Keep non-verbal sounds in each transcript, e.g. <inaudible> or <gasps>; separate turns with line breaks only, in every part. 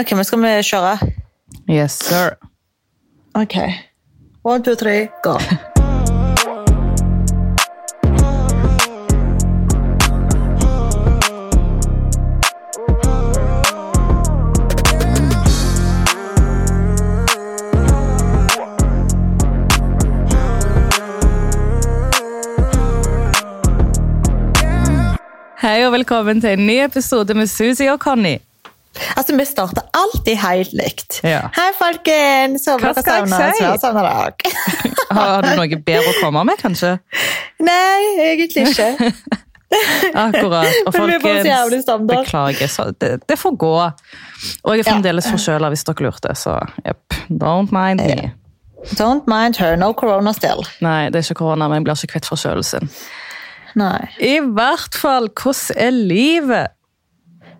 Ok, men skal vi kjøre?
Yes, sir.
Ok. One, two, three, go.
Hei og velkommen til en ny episode med Susi og
<laughs>
Conny.
Altså, vi starter alltid helt likt.
Ja.
Hei, folkens!
Hva skal jeg si?
si?
Har du noe bedre å komme med, kanskje?
<laughs> Nei, egentlig ikke.
<laughs> Akkurat. Og
Men vi er på så jævlig
folkens,
standard.
beklager. Så det, det får gå. Og jeg er fremdeles forkjøla, hvis dere lurte, så jepp. Don't mind me.
Don't mind her, no corona still.
Nei, det er ikke korona, men jeg blir ikke kvitt forkjølelsen.
Nei.
I hvert fall, hvordan er livet?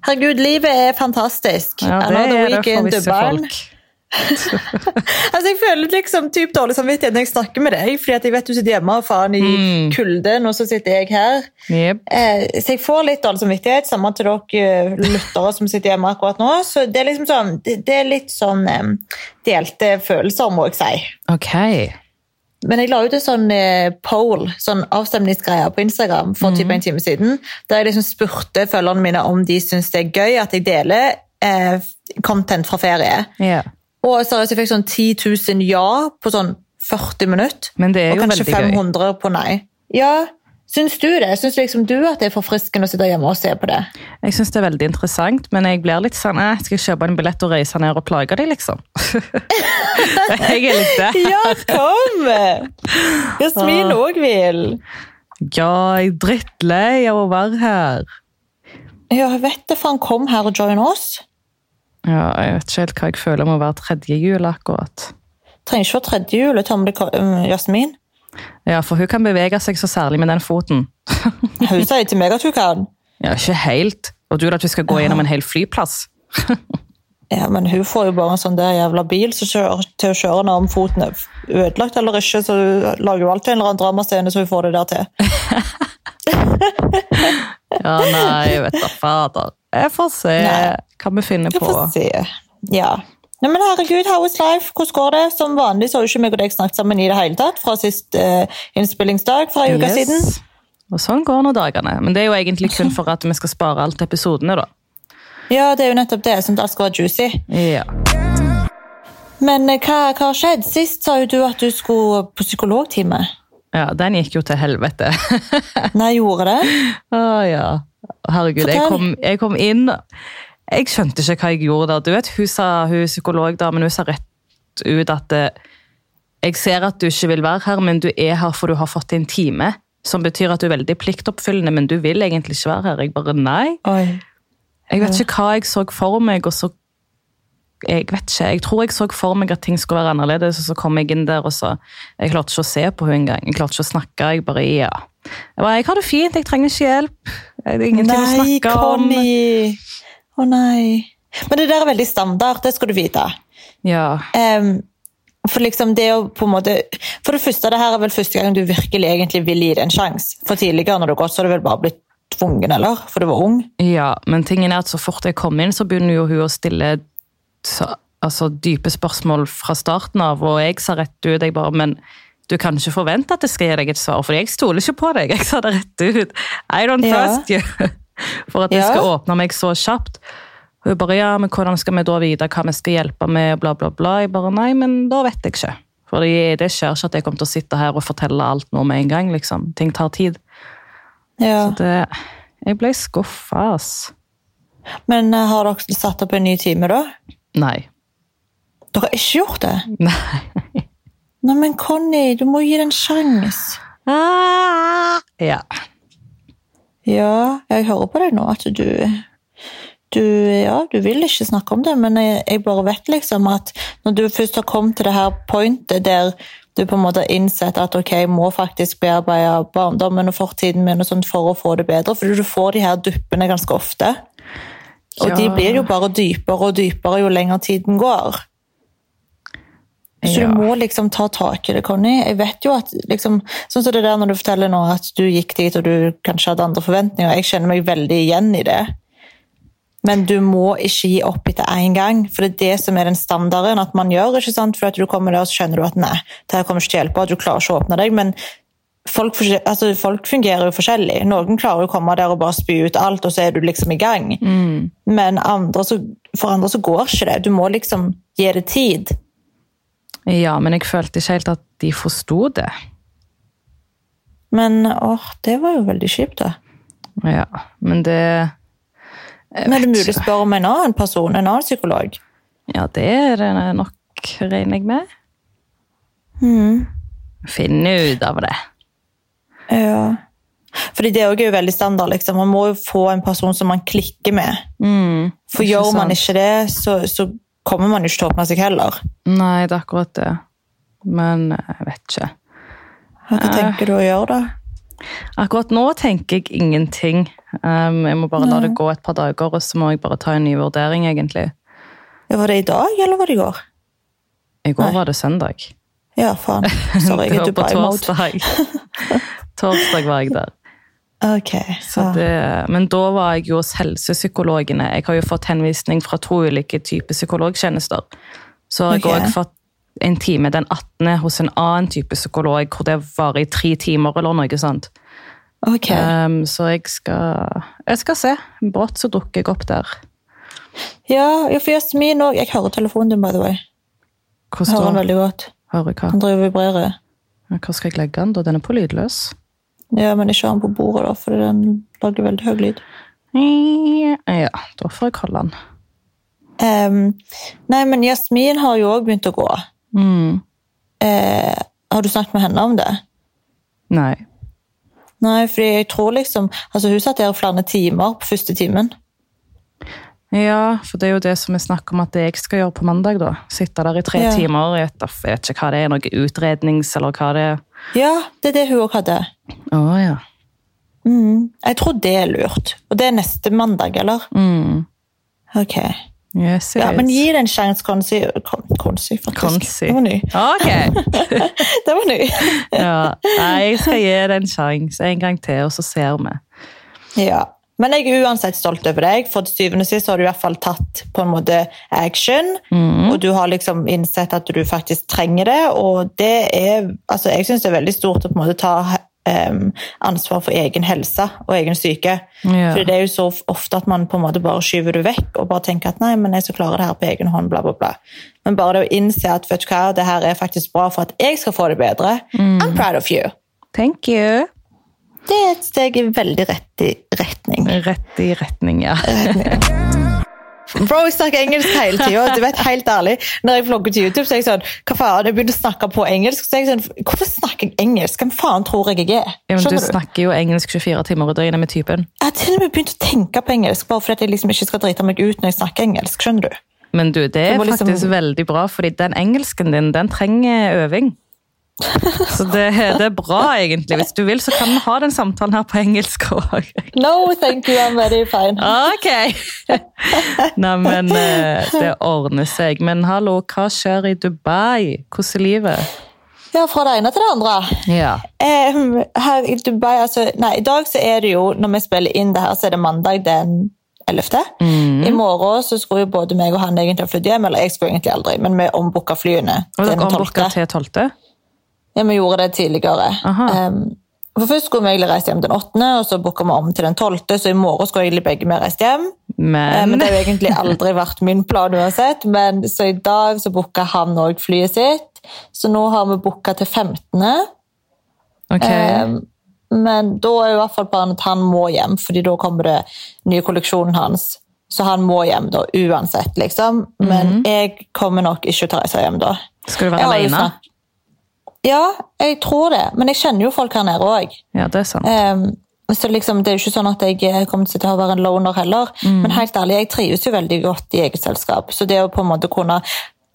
Herregud, livet er fantastisk.
Ja, det
Another
er det
week in
for visse
Dubai.
folk.
Altså, jeg føler liksom typ dårlig samvittighet når jeg snakker med deg, fordi at jeg vet du sitter hjemme og faen i
Mm.
kulden, og så sitter jeg her.
Jep.
Eh, så jeg får litt dårlig samvittighet, samme til dere eh, lyttere som sitter hjemme akkurat nå. Så det er liksom sånn, det, det er litt sånn eh, delte følelser, må jeg si.
Ok.
Men jeg la ut en sånn eh, poll, sånn avstemningsgreier på Instagram for typ en time siden, der jeg liksom spurte følgerne mine om de syns det er gøy at jeg deler eh, content fra ferie.
Ja.
Og seriøst, jeg fikk sånn 10 000 ja på sånn 40 minutter.
Men det er
og
jo
kanskje
veldig gøy.
500 på nei. Ja, syns du det? Syns liksom du at det er forfriskende å sitte hjemme og se på det?
Jeg syns det er veldig interessant, men jeg blir litt sånn eh, Skal jeg kjøpe en billett og reise ned og plage dem, <laughs> liksom? jeg er litt der.
Ja, kom! Jasmin òg vil.
Ja, jeg er drittlei av å være her.
Ja, jeg vet det, for han kom her og join oss.
Ja, jeg vet ikke helt hva jeg føler om å være tredje jul akkurat.
Trenger ikke være tredje jul, ta med deg um, Jasmin.
Ja, for hun kan bevege seg så særlig med den foten.
Hun sier til meg at hun kan.
Ja, ikke helt. Og du vil at vi skal gå gjennom en hel flyplass?
Ja, men hun får jo bare en sånn der jævla bil som kjører, til å kjøre når om foten er ødelagt eller ikke, så hun lager jo alltid en eller annen dramascene så hun får det der til.
Ja, nei, jeg vet da fader. Jeg får se
Nei.
hva vi finner
Vi
på.
får se. Ja. Nei, men herregud, how is life? Hvordan går det? Som vanlig så har jo ikke meg og deg snakket sammen i det hele tatt fra sist eh, innspillingsdag for en uke
Yes.
siden.
Og sånn går nå dagene. Men det er jo egentlig kun for at vi skal spare alt til episodene, da.
Ja, det er jo nettopp det, sånn at alt skal være juicy.
Ja.
Men eh, hva, hva har skjedd? Sist sa jo du at du skulle på psykologtime.
ja, den gikk jo til helvete. <laughs>
Nei, gjorde det?
Å ja. Herregud, jeg
Fortell.
kom, jeg kom inn Jeg skjønte ikke hva jeg gjorde der. Du vet, hun sa, hun psykologdamen, hun sa rett ut at eh, Jeg ser at du ikke vil være her, men du er her for du har fått en time. Som betyr at du er veldig pliktoppfyllende, men du vil egentlig ikke være her. Jeg bare nei.
Oi.
Jeg vet ikke hva jeg så for meg, og så jeg vet ikke, jeg tror jeg så for meg at ting skulle være annerledes, og så kom jeg inn der, og så Jeg klarte ikke å se på henne engang. Jeg klarte ikke å snakke. Jeg bare ja. Jeg, bare, jeg har det fint, jeg trenger ikke hjelp. Det er ingenting å
Nei,
snakke om.
Conny! Å nei. Men det der er veldig standard, det skal du vite.
Ja.
Em, Ehm, for liksom det å på en måte For det første, det her er vel første gang du virkelig egentlig vil gi det en sjanse. For tidligere når du har gått, så har du vel bare blitt tvungen, eller? For du var ung.
ja, men tingen er at så fort jeg kom inn, så begynner jo hun å stille så, altså, dype spørsmål fra starten av, og jeg sa rett ut, jeg bare Men du kan ikke forvente at jeg skal gi deg et svar, for jeg stoler ikke på deg. <laughs> Jeg sa det rett ut. I don't
Ja.
trust you. <laughs> For at jeg
Ja.
skal åpne meg så kjapt. Og hun bare ja, men hvordan skal vi da vite hva vi skal hjelpe med, bla, bla, bla. Jeg bare nei, men da vet jeg ikke. For det skjer ikke at jeg kommer til å sitte her og fortelle alt nå med en gang, liksom. Ting tar tid.
Ja.
Det, jeg ble skuffa, ass.
Men eh, har dere satt opp en ny time, da?
Nei.
Dere har ikke gjort det?
Nei.
Nei, men Conny, du må gi det en sjanse.
Ah! Ja.
Ja, jeg hører på deg nå at du du, ja, du vil ikke snakke om det, men jeg, jeg bare vet liksom at når du først har kommet til det her pointet der du på en måte har innsett at ok, jeg må faktisk bearbeide barndommen og fortiden min og sånt for å få det bedre, fordi du får de her duppene ganske ofte. Og de
Ja.
blir jo bare dypere og dypere jo lenger tiden går. Så
Ja.
du må liksom ta tak i det, Conny. Jeg vet jo at liksom, sånn som det der når du forteller nå at du gikk dit og du kanskje hadde andre forventninger, jeg kjenner meg veldig igjen i det. Men du må ikke gi opp etter én gang, for det er det som er den standarden at man gjør. ikke sant? For at du kommer der, så skjønner du at nei, det her kommer ikke til å hjelpe, og du klarer ikke å åpne deg. men Folk, forskje- altså folk fungerer jo forskjellig. Noen klarer å komme der og bare spy ut alt, og så er du liksom i gang. Men andre, så, for andre så går ikke det. Du må liksom gi det tid.
Ja, men jeg følte ikke helt at de forsto det.
Men åh, det var jo veldig kjipt, da.
Ja, men det
Men er det mulig å spørre om en annen person, en annen psykolog?
Ja, det er det nok, regner jeg med. Mm. Finne ut av det.
Ja. Fordi det òg er jo veldig standard. liksom. Man må jo få en person som man klikker med. For
Mm. ikke
gjør man
sant.
ikke det, så, så kommer man jo ikke til å åpne seg heller.
Nei, det er akkurat det. Men eh, jeg vet ikke.
Hva tenker du å gjøre, da?
Akkurat nå tenker jeg ingenting. Um, jeg må bare la det gå et par dager, og så må jeg bare ta en ny vurdering, egentlig.
Ja, Var det i dag, eller var det i går?
I går var det søndag.
Ja,
<laughs>
faen. Sorry, jeg er
det var på
Dubai-mode.
torsdag. <laughs> torsdag var jeg der.
Ok,
Så
ja.
det, men da var jeg jo hos helsepsykologene. Jeg har jo fått henvisning fra to ulike typer psykologtjenester. Så har jeg
Ok.
også fått en time den 18. hos en annen type psykolog, hvor det varer i tre timer eller noe sånt.
Ok.
Ehm, så jeg skal, jeg skal se. Brått så dukker jeg opp der.
Ja, ja, for Jasmin òg Jeg hører telefonen din, by the way. Jeg hører den
Hvordan da?
veldig godt.
Hører hva?
Han driver og vibrerer.
Hvor skal jeg legge den da? Den er på lydløs.
Ja, men ikke ha den på bordet, da, for den lager veldig høy lyd.
Ja, da får jeg holde den.
Ehm, nei, men Jasmin har jo òg begynt å gå. Eh, har du snakket med henne om det?
Nei.
Nei, fordi jeg tror liksom Altså, hun satt der i flere timer på første timen.
Ja, for det er jo det som er snakk om at det jeg skal gjøre på mandag. da. Sitte der i tre
Ja.
timer i et jeg vet ikke hva det er, noe utrednings eller hva det er.
Ja, det er det hun òg hadde. Mm.
Å ja.
Jeg tror det er lurt. Og det er neste mandag, eller? Ok.
Yes,
Ja, men gi det en sjanse, Konsi. Kon- Konsi, faktisk.
Konsi.
Det var ny.
Ok!
Det var ny.
Ja. Nei, jeg skal gi det en sjanse en gang til, og så ser vi.
ja. Men jeg er uansett stolt over deg, for til syvende og sist har du i hvert fall tatt på en måte action, og du har liksom innsett at du faktisk trenger det, og det er, altså jeg synes det er veldig stort å på en måte ta em, ansvar for egen helse og egen syke.
Ja.
Fordi det er jo så ofte at man på en måte bare skyver det vekk, og bare tenker at nei, men jeg skal klare det her på egen hånd, bla bla bla. Men bare det å innse at vet du hva, det her er faktisk bra for at jeg skal få det bedre, I'm proud of you.
Thank you.
Det er et steg i veldig rett i retning.
Rett i retning, ja.
Bro, jeg snakker engelsk hele tida. Du vet, helt ærlig, når jeg vlogger til YouTube, så er jeg sånn Hva faen? Jeg begynner å snakke på engelsk. Så er jeg sånn, Hvorfor snakker jeg engelsk? Hvem faen tror jeg jeg er?
Ja, men du
Skjønner du?
snakker jo engelsk 24 timer i døgnet med typen.
Jeg har til og med begynt å tenke på engelsk, bare fordi at jeg liksom ikke skal drite meg ut når jeg snakker engelsk. Skjønner du?
Men du, det er
må liksom-
faktisk veldig bra, fordi den engelsken din, den trenger
<laughs>
øving. Så det, det er bra, egentlig. Hvis du vil, så kan vi ha den samtalen her på engelsk òg.
No, thank you, I'm very fine.
Ok! <laughs> Neimen, eh, det ordner seg. Men hallo, hva skjer i Dubai? Hvordan er livet?
Ja, fra det ene til det andre.
Ja.
Em, Eh, hm, her i Dubai, altså, nei, I dag så er det jo, når vi spiller inn det her, så er det mandag den 11.
Mm.
I morgen så skulle jo både meg og han egentlig ha flydd hjem, eller jeg skulle egentlig aldri, men vi ombooka flyene.
Og
til
dere
den 12..
ombooka til 12.?
Ja, vi gjorde det tidligere.
Aha.
Em, for Først skulle vi egentlig reise hjem den 8., og så booka vi om til den 12., så i morgen skulle egentlig begge vi reist hjem. Eh, Men
Men
det har jo egentlig aldri vært min plan uansett. Men så i dag så booka han òg flyet sitt, så nå har vi booka til 15.
Ok.
Em, Eh, Men da er i hvert fall planen at han må hjem, fordi da kommer det nye kolleksjonen hans. Så han må hjem da, uansett, liksom. Men jeg kommer nok ikke til å reise hjem da.
Skal du
Jeg
være
har jo
alene?
snakket- Ja, jeg tror det. Men jeg kjenner jo folk her nede òg.
Ja, det er sant.
Eh, så liksom, det er jo ikke sånn at jeg kommer til å være en loner heller. Men helt ærlig, jeg trives jo veldig godt i eget selskap. Så det å på en måte kunne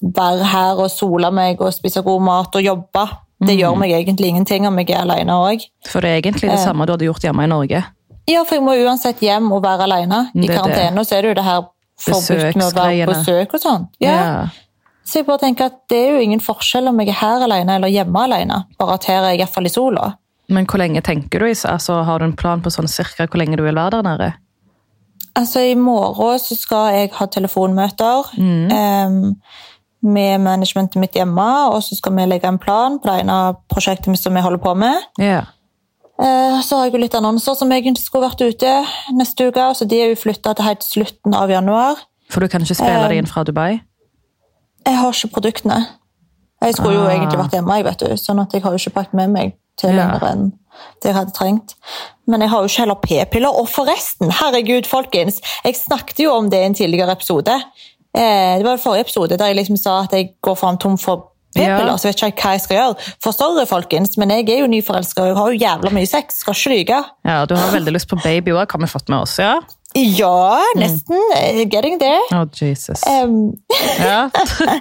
være her og sole meg og spise god mat og jobbe, det gjør meg egentlig ingenting om jeg er alene òg.
For det er egentlig
eh,
det samme du hadde gjort hjemme i Norge.
Ja, for jeg må uansett hjem og være alene. I
Det er det.
karantene så er det jo det her forbudt med å være på
Besøksgreiene.
besøk og sånn. Ja. Så jeg bare tenker at det er jo ingen forskjell om jeg er her alene eller hjemme alene. Bare at her er jeg iallfall i sola.
Men hvor lenge tenker du? i- Altså, har du en plan på sånn cirka hvor lenge du vil være der nede?
Altså, i morgen så skal jeg ha telefonmøter
Mm.
em, med managementet mitt hjemme, og så skal vi legge en plan på det ene av prosjektet mitt som vi holder på med.
Ja.
Eh, Så har jeg jo litt annonser som egentlig skulle vært ute neste uke, så de er jo flytta til helt slutten av januar.
For du kan ikke
Eh,
spille det inn fra Dubai?
Jeg har ikke produktene. Jeg skulle jo
Ah.
egentlig vært hjemme, jeg vet du, sånn at jeg har jo ikke pakket med meg til
Ja.
lenger enn det jeg hadde trengt. Men jeg har jo ikke heller p-piller. Og forresten, herregud, folkens, jeg snakket jo om det i en tidligere episode. Eh, det var i forrige episode der jeg liksom sa at jeg går fram tom for p-piller,
Ja.
så vet ikke jeg hva jeg skal gjøre. Forstår dere, folkens, men jeg er jo nyforelska, og jeg har jo jævla mye sex, skal ikke lyge.
Ja, du har veldig lyst på baby òg, har vi fått med oss, ja?
Ja,
Mm.
nesten. eh, Getting there.
Å, Jesus.
Um, <laughs>
Ja.
Nei,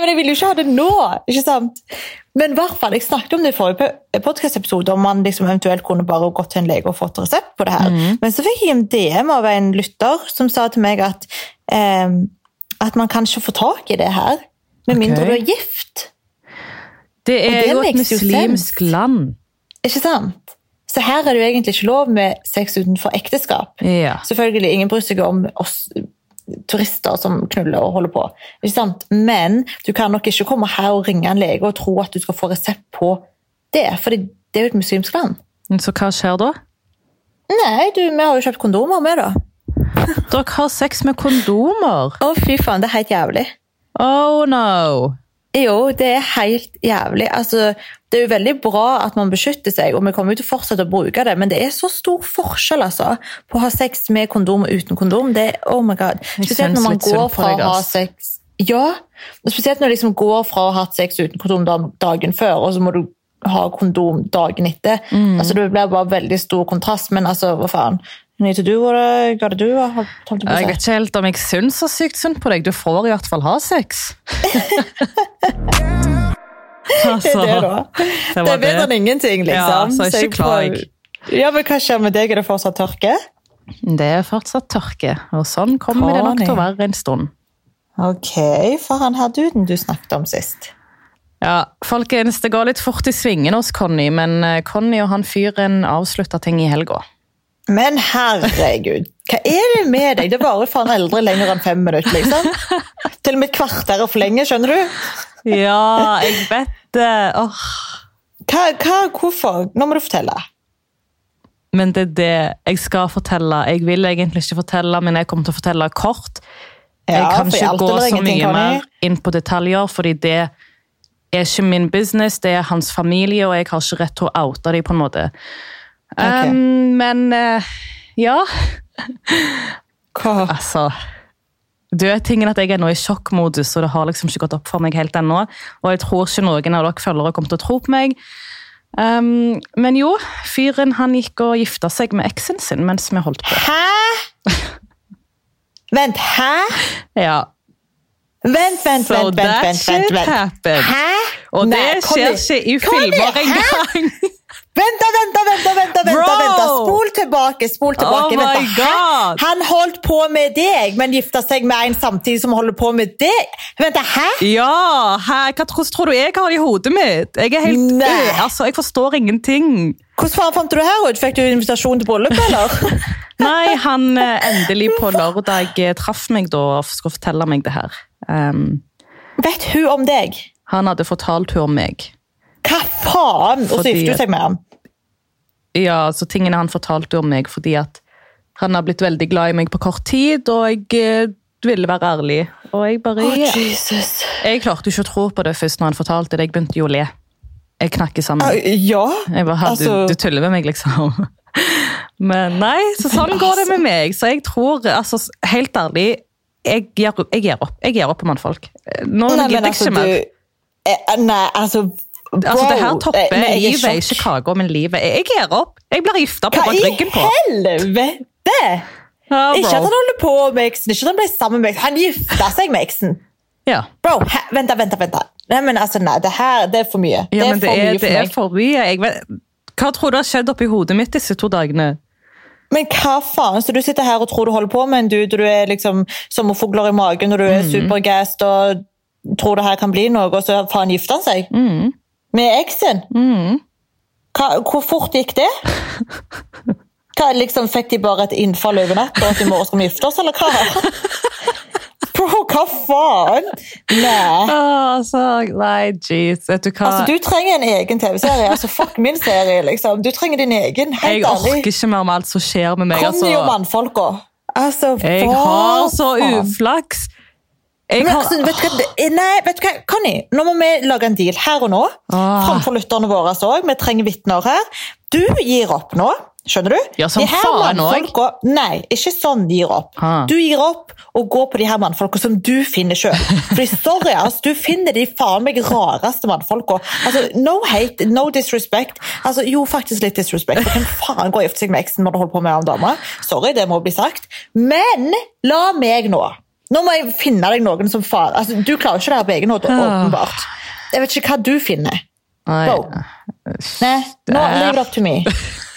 men Jeg vil jo ikke ha det nå, ikke sant? Men i hvert fall, jeg snakket om det i forrige podkast-episode, om man liksom eventuelt kunne bare gått til en lege og fått resept på det her. Men så fikk jeg en DM av en lytter som sa til meg at, eh, at man kan ikke få tak i det her. Med
Ok.
mindre du er gift.
Det
Og det
er jo et
makes jo
muslimsk land.
Ikke sant? Så her er det jo egentlig ikke lov med sex utenfor ekteskap.
Ja.
Selvfølgelig, ingen bryr seg om oss turister som knuller og holder på. Ikke sant? Men du kan nok ikke komme her og ringe en lege og tro at du skal få resept på det, for det er jo et muslimsk land.
Men Mm, Så hva skjer da?
Nei, du, vi har jo kjøpt kondomer med, da.
Dere har sex med kondomer.
Å, fy faen, det er helt jævlig.
Oh no!
Jo, det er helt jævlig. Altså, det er jo veldig bra at man beskytter seg, og vi kommer jo til å fortsette å bruke det, men det er så stor forskjell altså, på å ha sex med kondom og uten kondom. Det, oh my god.
Jeg
Spesielt
synes
når man
litt synd
går
på
fra
deg,
å ha
ass.
sex Ja, og spesielt når du liksom går fra å ha hatt sex uten kondom da- dagen før, og så må du ha kondom dagen etter.
Mm.
Altså, det blir bare veldig stor kontrast, men altså, hva faen. Need to do what I gotta do. holdt jeg på å si.
Jeg vet ikke helt om jeg syns så sykt synd på deg. Du får i hvert fall ha <laughs> sex. altså,
det, da.
det
Det
var
er bedre enn
det.
ingenting, liksom.
Ja, så ikke klag.
prøver- Ja, men hva skjer med deg? Er det fortsatt tørke?
det er fortsatt tørke, og sånn kommer det nok til å være en stund.
Ok, for han her duden du snakket om sist.
Ja, folkens, Det går litt fort i svingene hos Conny, men eh, Conny og han fyren avslutta ting i helga.
Men herregud, hva er det med deg? Det varer faen eldre lenger enn fem minutter, liksom. Til og med et kvarter er for lenge, skjønner du?
Ja, jeg vet det. Åh.
Hva, hva, hvorfor? Nå må du fortelle.
Men det er det jeg skal fortelle. Jeg vil egentlig ikke fortelle, men jeg kommer til å fortelle kort. Jeg
Ja,
kan
for i
ikke
alt
gå
eller
så
ingenting,
mye
Conny.
mer inn på detaljer, fordi det er ikke min business, det er hans familie, og jeg har ikke rett til å oute dem, på en måte.
Ok.
Um, men eh, ja,
Hva?
altså Du er tingen at jeg er nå i sjokkmodus, og det har liksom ikke gått opp for meg helt ennå. Og jeg tror ikke noen av dere følgere kommer til å tro på meg. Um, men jo, fyren han gikk og gifta seg med eksen sin mens vi holdt på.
Hæ? Vent, hæ?
Ja,
Vent, vent,
So
vent, vent,
that
vent, vent,
shit happened.
Hæ?
Og det
Nei, Conny,
skjer ikke i
Conny,
filmer
hæ?
engang!
Vent, da, vent, da, vent, da, vent, da, vent, da,
Bro!
vent, da. Spol tilbake, spol tilbake.
Oh
vent da.
my
Hæ?
God!
Han holdt på med deg, men gifta seg med en samtidig som holder på med deg. Vent, da, hæ?
Ja! Hæ? Hva, hvordan tror du jeg har det i hodet mitt? Jeg er helt
Nei.
ø, altså, jeg forstår ingenting.
Hvordan faen fant du det her ut? Fikk du invitasjon til bryllup,
<laughs>
eller?
Nei, han eh, endelig på lørdag eh, traff meg da og skulle fortelle meg det her. Um,
Vet hun om deg?
han hadde fortalt henne om meg.
Hva faen? Og så
Fordi-
gifter hun seg med ham.
Ja, så tingene han fortalte om meg fordi at han har blitt veldig glad i meg på kort tid, og jeg eh, ville være ærlig. Og jeg bare ja.
Jesus.
Jeg klarte ikke å tro på det først når han fortalte det. Jeg begynte jo å le. Jeg knakk sammen.
Ja.
Jeg bare, «Hæ,
Altså-
du, du tuller med meg, liksom. <laughs> Men nei, så sånn går det
altså-
med meg. Så jeg tror, altså, s- helt ærlig, jeg gir, jeg gir opp. Jeg gir opp på mannfolk. Nå
Nei,
gidder
men
jeg
altså,
ikke
du...
mer.
Eh, Nei, altså...
Altså, det her
wow. Eh,
topper
Nei, jeg er i
livet,
sjokk.
ikke kaka, men livet. Jeg jeg gir opp. Jeg blir gifta på
Hva
bak ryggen på.
i helvete?
Ja,
Ikke at han
bro.
holder på med eksen, ikke at han ble sammen med eksen. Han gifta seg med eksen.
Ja.
Bro, hæ? vent, da, vent, da, vent. da. Nei, men altså, nei, det her det er for mye.
ja,
det er
men det
for
er,
mye
det
for
er
meg.
for mye. Jeg vet, hva tror du har skjedd oppi hodet mitt disse to dagene?
Men hva faen? Så du sitter her og tror du holder på med en dude, og du er liksom sommerfugler i magen, og du
Mm.
er supergassed og tror det her kan bli noe, og så faen gifter han seg?
Mm.
Med eksen? Hva, hvor fort gikk det? Hva, liksom, fikk de bare et innfall over natta og at i morgen skal vi gifte oss, eller hva? <laughs> Bro, hva faen? Nei.
Altså, nei, jeez. Vet du hva?
Altså, du trenger en egen TV-serie. altså Fuck min serie, liksom. Du trenger din egen.
jeg
Helt
orker
ærlig.
ikke mer med alt som skjer med meg.
Kom
Altså.
deg jo mannfolka. Altså,
Jeg
hva
har så
faen?
uflaks. Jeg
Men,
har,
altså, vet du hva, det- nei, vet du hva, Conny, nå må vi lage en deal her og nå.
Ah.
Framfor lytterne våre òg. Vi trenger vitner her. Du gir opp nå. Skjønner du?
Ja, som
De her
faen
mannfolka- Nei, ikke sånn de gir opp.
Ah.
Du gir opp og går på de her mannfolka som du finner sjøl. Fordi, sorry, ass, du finner de faen meg rareste mannfolka. Altså, no hate, no disrespect. Altså, jo, faktisk litt disrespect. For hvem faen går og gifter seg med eksen når du holder på med en dame? Sorry, det må bli sagt. Men la meg nå. Nå må jeg finne deg noen som faen altså, Du klarer ikke det her på egen hånd, åpenbart. Jeg vet ikke hva du finner.
nei,
Wow. Nei, nå,
Det er-
leave it up to me.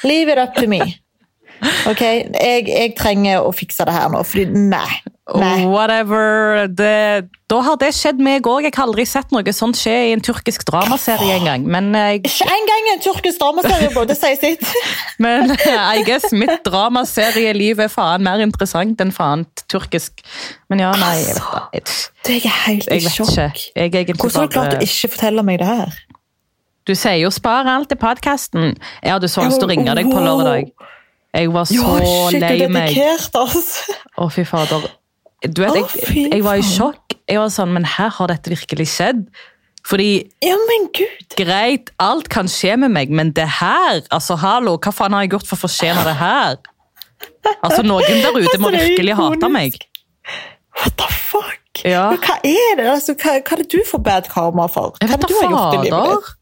Leave it up to me. Ok, jeg, jeg trenger å fikse det her nå, fordi nei. nei.
whatever. Det, da har det skjedd meg òg. Jeg har aldri sett noe sånt skje i en turkisk dramaserie engang.
<laughs>
Men, jeg-
Ikke engang en turkisk dramaserie, bro. Det sier sitt.
men <laughs> I guess mitt dramaserieliv er faen mer interessant enn faen turkisk. Men ja, nei, jeg vet da. Jeg,
Jeg er helt Altså, i
jeg vet
sjokk.
ikke. Jeg, er egentlig
Hvordan har du klart å
bare,
ikke fortelle meg det her?
du sier jo 'spar alt til podkasten'. Jeg hadde så lyst til å ringe deg på
Wow.
lørdag. Jeg var
Ja,
så
shit, du
lei
er
meg.
dedikert, altså.
Å, fy fader. Du vet,
Å,
jeg,
fy
jeg var i
faen.
sjokk. Jeg var sånn, men her har dette virkelig skjedd. Fordi,
Ja, men gud.
greit, alt kan skje med meg, men det her, altså hallo, hva faen har jeg gjort for å fortjene det her? Altså, noen der ute må
Altså, det er
virkelig hate
ikonisk.
meg.
What the fuck?
Ja.
Men Hva er det? Altså, hva, hva er det du får bad karma for?
Jeg
Hva er det
vet da
du har gjort i livet ditt?
fader.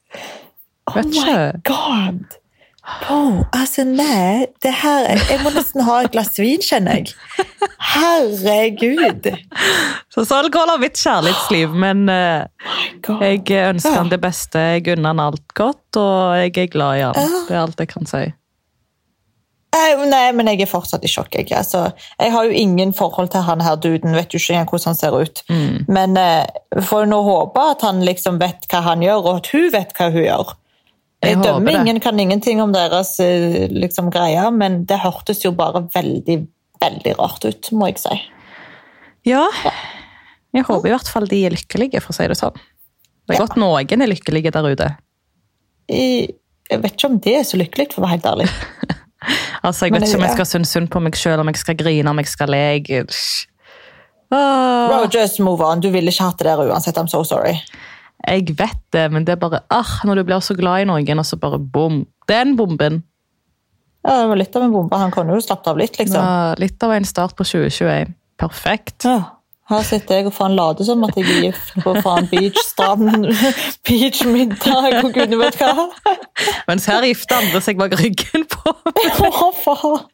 Oh
Vet ikke.
my god! Bro, altså nei, det her Jeg må nesten ha et glass vin, kjenner jeg. Herregud!
Så så alkohol har mitt kjærlighetsliv, men eh,
God.
jeg eh, ønsker han det beste. Jeg unner han alt godt, og jeg er glad i han.
Ja.
Det er alt jeg kan si.
Nei, nei, men jeg er fortsatt i sjokk. Jeg, altså, jeg har jo ingen forhold til han her duden. Vet jo ikke engang hvordan han ser ut.
Mm.
Men eh, vi får jo nå håpe at han liksom vet hva han gjør, og at hun vet hva hun gjør.
Jeg
Jeg,
håper
dømmer
det.
ingen, kan ingenting om deres eh, liksom, greier, men det hørtes jo bare veldig, veldig rart ut, må jeg si.
Ja. Jeg håper i hvert fall de er lykkelige, for å si det sånn. Det er godt noen er lykkelige der ute.
i, jeg vet ikke om det er så lykkelig, for å være helt ærlig.
Altså, Jeg
Men
vet ikke om jeg
ja.
skal synes synd på meg sjøl, om jeg skal grine, om jeg skal le. Jeg...
Bro,
Åh,
just move on. Du ville ikke hatt det der uansett. I'm so sorry.
jeg vet det, men det er bare ah, Når du blir så glad i noen, og så bare bom. Den bomben.
Ja, det var litt av en bombe. Han kunne jo slappet av litt, liksom.
Ja, Ah, litt av en start på 2021. Perfekt.
Ja. Her sitter jeg og faen later som at jeg er gift på faen beach, strand, <laughs> beach, middag og gudene vet hva.
Mens her gifter andre seg bak ryggen på meg.
Å, faen.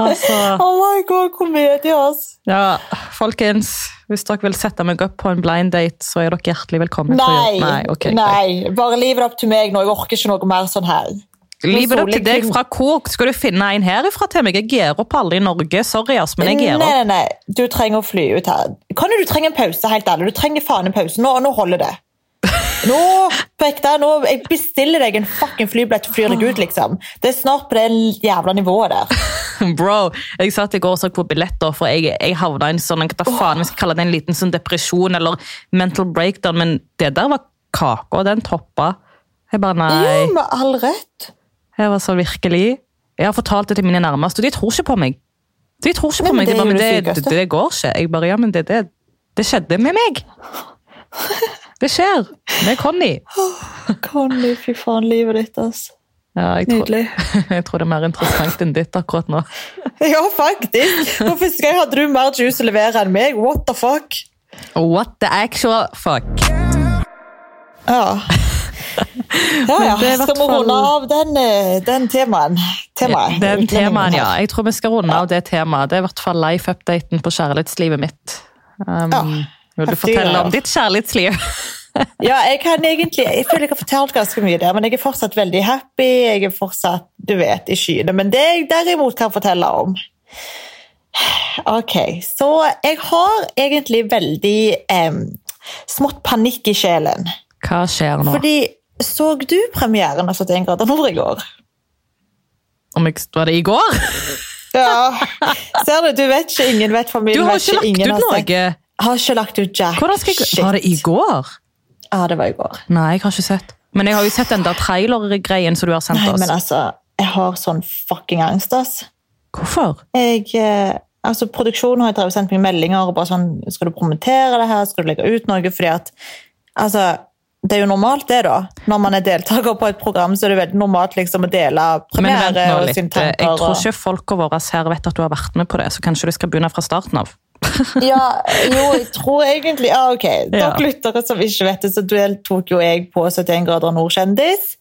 Altså,
Oh my god, komedie, ass.
ja, folkens. Hvis dere vil sette meg opp på en blind date, så er dere hjertelig velkommen. til å
Nei,
gjøre- Nei, ok, greit.
nei. Bare liv det opp til meg nå. Jeg orker ikke noe mer sånn her.
Livet opp til deg
Soleking.
fra hvor? Skal du finne en herifra til meg? Jeg gir opp alle i Norge. Sorry, ass, men jeg gir
Nei,
opp. <laughs>
nei, nei. Du trenger å fly ut her. Kan du trenger en pause, helt ærlig. Du trenger faen en pause. Nå, nå holder det. Nå, på ekte, nå, jeg bestiller deg en fucking flybillett og flyr deg ut, liksom. Det er snart på det jævla nivået der.
Bro, jeg satt i går og så på billetter, for jeg, jeg havna i en sånn, hva faen, vi skal kalle det en liten sånn depresjon eller mental breakdown, men det der var kaka, den toppa. Jeg bare,
Ja,
nei.
med all rett.
Jeg var så virkelig. Jeg har fortalt det til mine nærmeste, og de tror ikke på meg. De tror ikke
Nei,
på
men
meg.
det
De
er jo
bare, men det,
det
det,
sykeste.
det går ikke. Jeg bare, ja, men det, det, det skjedde med
<laughs>
meg. Det skjer med Conny.
Conny, fy faen, livet ditt, ass.
Ja, jeg tror,
Nydelig.
<laughs> jeg tror det er mer interessant enn ditt akkurat nå.
<laughs> Ja, faktisk. For første gang hadde du mer juice å levere enn meg. What the fuck?
What the actual fuck? <laughs>
Ja. Ja, ja.
Men det er i
Skal
hvert
vi runde
fall-
av den, eh, den temaen? Temaet.
Den temaen,
Utlendingen
ja.
her.
Jeg tror vi skal runde av det temaet. Det er i hvert fall life-updaten på kjærlighetslivet mitt. Um,
Ja.
Vil du
Heftig greier.
fortelle om ditt kjærlighetsliv?
Ja, jeg kan egentlig, jeg føler jeg har fortalt ganske mye der, men jeg er fortsatt veldig happy. Jeg er fortsatt, du vet, i skyene. Men det jeg derimot kan fortelle om Ok, så jeg har egentlig veldig em, smått panikk i sjelen.
<laughs> Hva skjer nå?
Fordi så du premieren av 71 grader nord i går?
Om jeg, var det i går?
Ja. <laughs> Ser du, du vet ikke. Ingen vet
Du
familien.
har
vet
ikke lagt
ingen
ut
har sett-
noe.
Har ikke lagt ut jack.
Hvordan skal jeg...
Shit.
Var det i går?
Ja, det var i går.
Nei, jeg har ikke sett. Men jeg har jo sett den der trailer-greien som du har sendt
Nei,
oss.
men altså, jeg har sånn fucking angst, ass.
Hvorfor?
Jeg, eh, altså, produksjonen har jeg drevet og sendt meg meldinger og bare sånn Skal du promotere det her? Skal du legge ut noe? Fordi at Altså, det er jo normalt, det, da. Når man er deltaker på et program, så er det veldig normalt liksom å dele
Men vent
premiere
nå
og
litt.
sine
Jeg
tanker.
tror
eh, og-
ikke folka våre her vet at du har vært med på det, så kanskje du skal begynne fra starten av.
Ja, jo, jeg tror egentlig Ja, ok. Dere
Ja.
lyttere som ikke vet det, så deltok jo jeg på 71 grader nord-kjendis.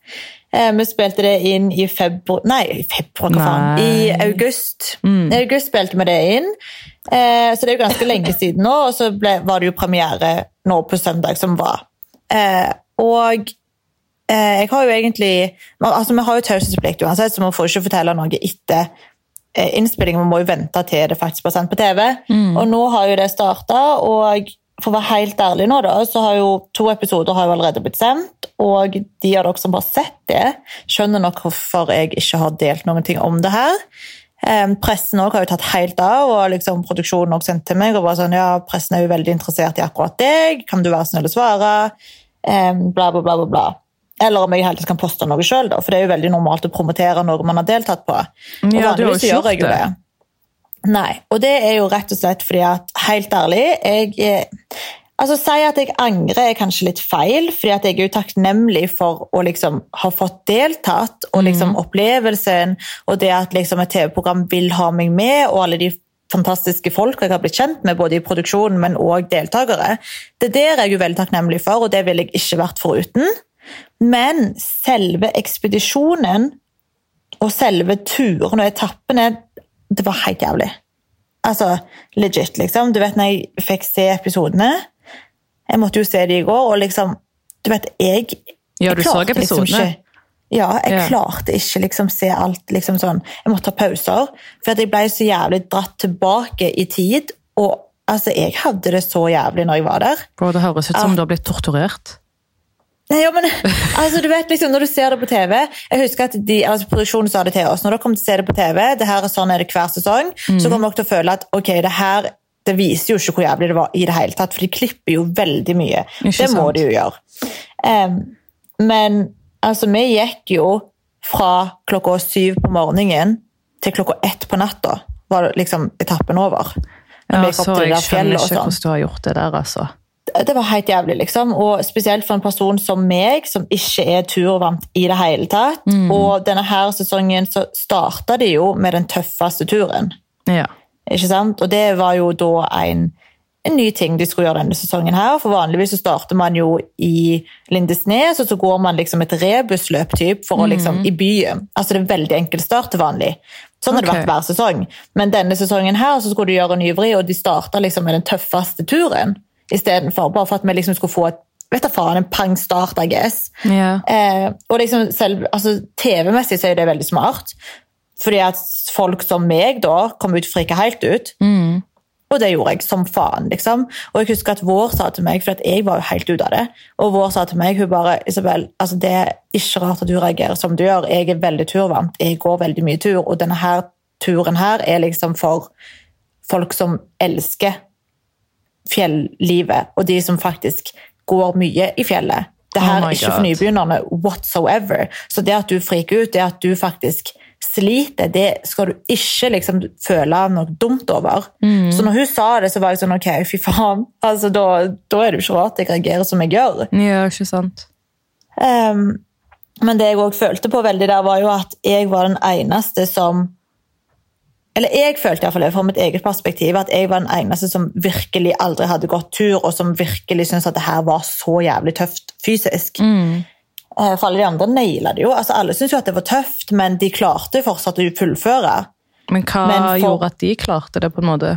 Eh, vi spilte det inn i februar Nei, i februar, hva faen? I
Nei.
august. I august spilte vi det inn. Eh, så det er jo ganske lenge siden nå, og så ble, var det jo premiere nå på søndag som var. Eh, og eh, jeg har jo egentlig Altså, vi har jo taushetsplikt uansett, så vi får ikke fortelle noe etter eh, innspillingen. Vi må jo vente til det faktisk blir sendt på TV. Og nå har jo det starta, og for å være helt ærlig nå, da, så har jo to episoder har jo allerede blitt sendt. Og de av dere som har sett det, skjønner nok hvorfor jeg ikke har delt noen ting om det her. Eh, pressen også har jo tatt helt av, og liksom produksjonen også sendte til meg. og bare sånn, ja, Pressen er jo veldig interessert i akkurat deg, kan du være snill å svare? Eh, bla, bla, bla, bla, bla. Eller om jeg helt kan poste noe sjøl, for det er jo veldig normalt å promotere noe man har deltatt på. Og
Ja, du har jo
vanligvis
ikke
gjør jeg
gjort
jo
det.
det. Nei, og det er jo rett og slett fordi at, helt ærlig, jeg eh, Altså, Si at jeg angrer er kanskje litt feil, fordi at jeg er jo takknemlig for å liksom ha fått deltatt, og liksom
Mm.
opplevelsen, og det at liksom et TV-program vil ha meg med, og alle de fantastiske folk jeg har blitt kjent med, både i produksjonen, men òg deltakere. Det der er jeg jo veldig takknemlig for, og det ville jeg ikke vært foruten. Men selve ekspedisjonen og selve turen og etappene, det var helt jævlig. Altså, legit, liksom. Du vet når jeg fikk se episodene Jeg måtte jo se de i går, og liksom Du vet, jeg
Ja,
jeg
du så
klarte liksom
episodene.
ikke- ja, jeg
Ja.
klarte ikke liksom se alt liksom sånn. Jeg måtte ta pauser, for at jeg ble så jævlig dratt tilbake i tid. Og altså, jeg hadde det så jævlig når jeg var der.
Bro, det høres
Ah.
ut som du har blitt torturert.
Nei, ja, men altså, du vet liksom, Når du ser det på TV Jeg husker at de, altså, Produksjonen sa det til oss. Når dere kommer til å se det på TV, det her er sånn er det hver sesong,
Mhm.
så kommer dere til å føle at ok, det her det viser jo ikke hvor jævlig det var i det hele tatt, for de klipper jo veldig mye.
Ikke
det må
sant.
de jo gjøre. Em, men altså, vi gikk jo fra klokka syv på morgenen til klokka ett på natta. Var liksom etappen over. Når
Ja,
vi gikk opp
så
til det
jeg
der fjellet
skjønner
og
ikke
sånn
hvordan du har gjort det der, altså.
det var helt jævlig, liksom. Og spesielt for en person som meg, som ikke er turvant i det hele tatt. Og denne her sesongen så starta de jo med den tøffeste turen.
Ja.
Ikke sant? Og det var jo da en, en ny ting de skulle gjøre denne sesongen her. For vanligvis så starter man jo i Lindesnes, og så går man liksom et rebusløp typ, for å liksom i byen. Altså det er veldig enkel start til vanlig. Sånn har det
Ok.
vært hver sesong. Men denne sesongen her så skulle de gjøre en ny vri, og de starta liksom med den tøffeste turen istedenfor. Bare for at vi liksom skulle få et Vet da faen, en pangstart, I guess.
ja.
Eh, og liksom selv, altså, TV-messig så er jo det veldig smart. Fordi at folk som meg da kom ut frika helt ut. Og det gjorde jeg som faen, liksom. Og jeg husker at Vår sa til meg, for at jeg var jo helt ute av det, og Vår sa til meg, hun bare, Isabel, altså det er ikke rart at du reagerer som du gjør. Jeg er veldig turvant, jeg går veldig mye tur, og denne her turen her er liksom for folk som elsker fjellivet, og de som faktisk går mye i fjellet. Det her
Oh my
er ikke for
God.
nybegynnerne whatsoever. Så det at du friker ut, det at du faktisk sliter, det skal du ikke liksom føle noe dumt over.
Mm.
Så når hun sa det, så var jeg sånn, ok, fy faen, altså da, da er det jo ikke rart jeg reagerer som jeg gjør.
ja, ikke sant.
Ehm, men det jeg òg følte på veldig der, var jo at jeg var den eneste som Eller jeg følte iallfall fra mitt eget perspektiv at jeg var den eneste som virkelig aldri hadde gått tur, og som virkelig syntes at det her var så jævlig tøft fysisk. Eh, For alle de andre naila det jo. Altså, alle syntes jo at det var tøft, men de klarte jo fortsatt å fullføre.
Men hva
Men for-
gjorde at de klarte det, på en måte?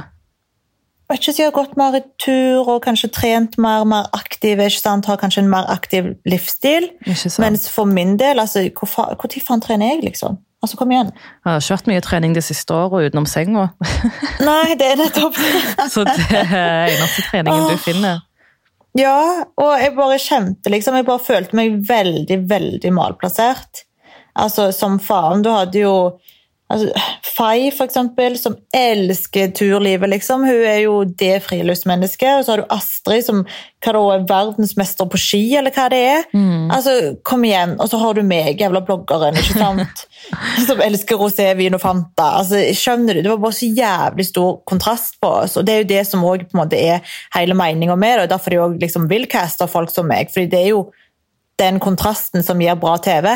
Jeg vet ikke, de har gått mer i tur og kanskje trent mer, mer aktive, ikke sant? har kanskje en mer aktiv livsstil.
Ikke sant.
Mens for min del, altså, hvor fa- hvor tid faen trener jeg, liksom? Altså, kom igjen.
Jeg har ikke vært mye trening det siste året utenom senga.
<laughs> Nei, det er nettopp
Så det er eneste treningen du finner.
<laughs> Ja, og jeg bare kjente liksom Jeg bare følte meg veldig, veldig malplassert. Altså, som faen. Du hadde jo altså, Fay, for eksempel, som elsker turlivet, liksom. Hun er jo det friluftsmennesket. Og så har du Astrid, som hva da, er verdensmester på ski, eller hva det er. Altså, kom igjen. Og så har du meg, jævla bloggeren, ikke sant? som elsker rosé, vin og Fanta. Altså, skjønner du? Det var bare så jævlig stor kontrast på oss. Og det er jo det som også, på en måte er hele meninga med det, og derfor de òg liksom vil caste folk som meg. fordi det er jo den kontrasten som gir bra TV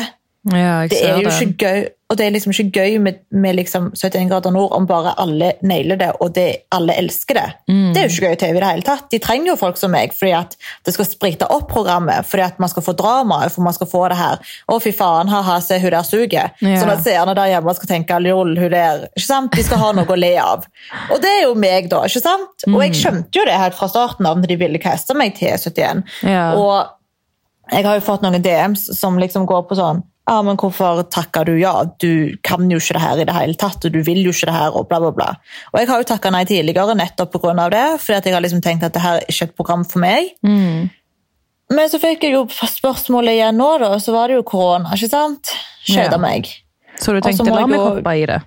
Ja, jeg
det er
ser
jo
det.
ikke gøy, og det er liksom ikke gøy med, med liksom 71 grader nord om bare alle nailer det, og det, alle elsker det.
Mm.
Det er jo ikke gøy TV i det hele tatt. De trenger jo folk som meg, fordi at det skal sprite opp programmet, fordi at man skal få drama, for man skal få det her. Å fy faen, haha, se hun der suger.
Ja.
Sånn at seerne der hjemme skal tenke, lol, hun der, ikke sant? De skal ha noe å le av. Og det er jo meg da, ikke sant? Og
Mm.
jeg skjønte jo det helt fra starten av når de ville kaste meg til 71.
Ja.
Og jeg har jo fått noen DMs som liksom går på sånn ja, men hvorfor takker du ja? Du kan jo ikke det her i det hele tatt, og du vil jo ikke det her, og bla, bla, bla. Og jeg har jo takket nei tidligere nettopp på grunn av det, fordi at jeg har liksom tenkt at det her er ikke et program for meg. Men så fikk jeg jo spørsmålet igjen nå, da, og så var det jo korona, ikke sant? Skjøda
Ja.
meg.
Så du
så
tenkte,
må
la
jeg
meg
jo-
hoppe i det.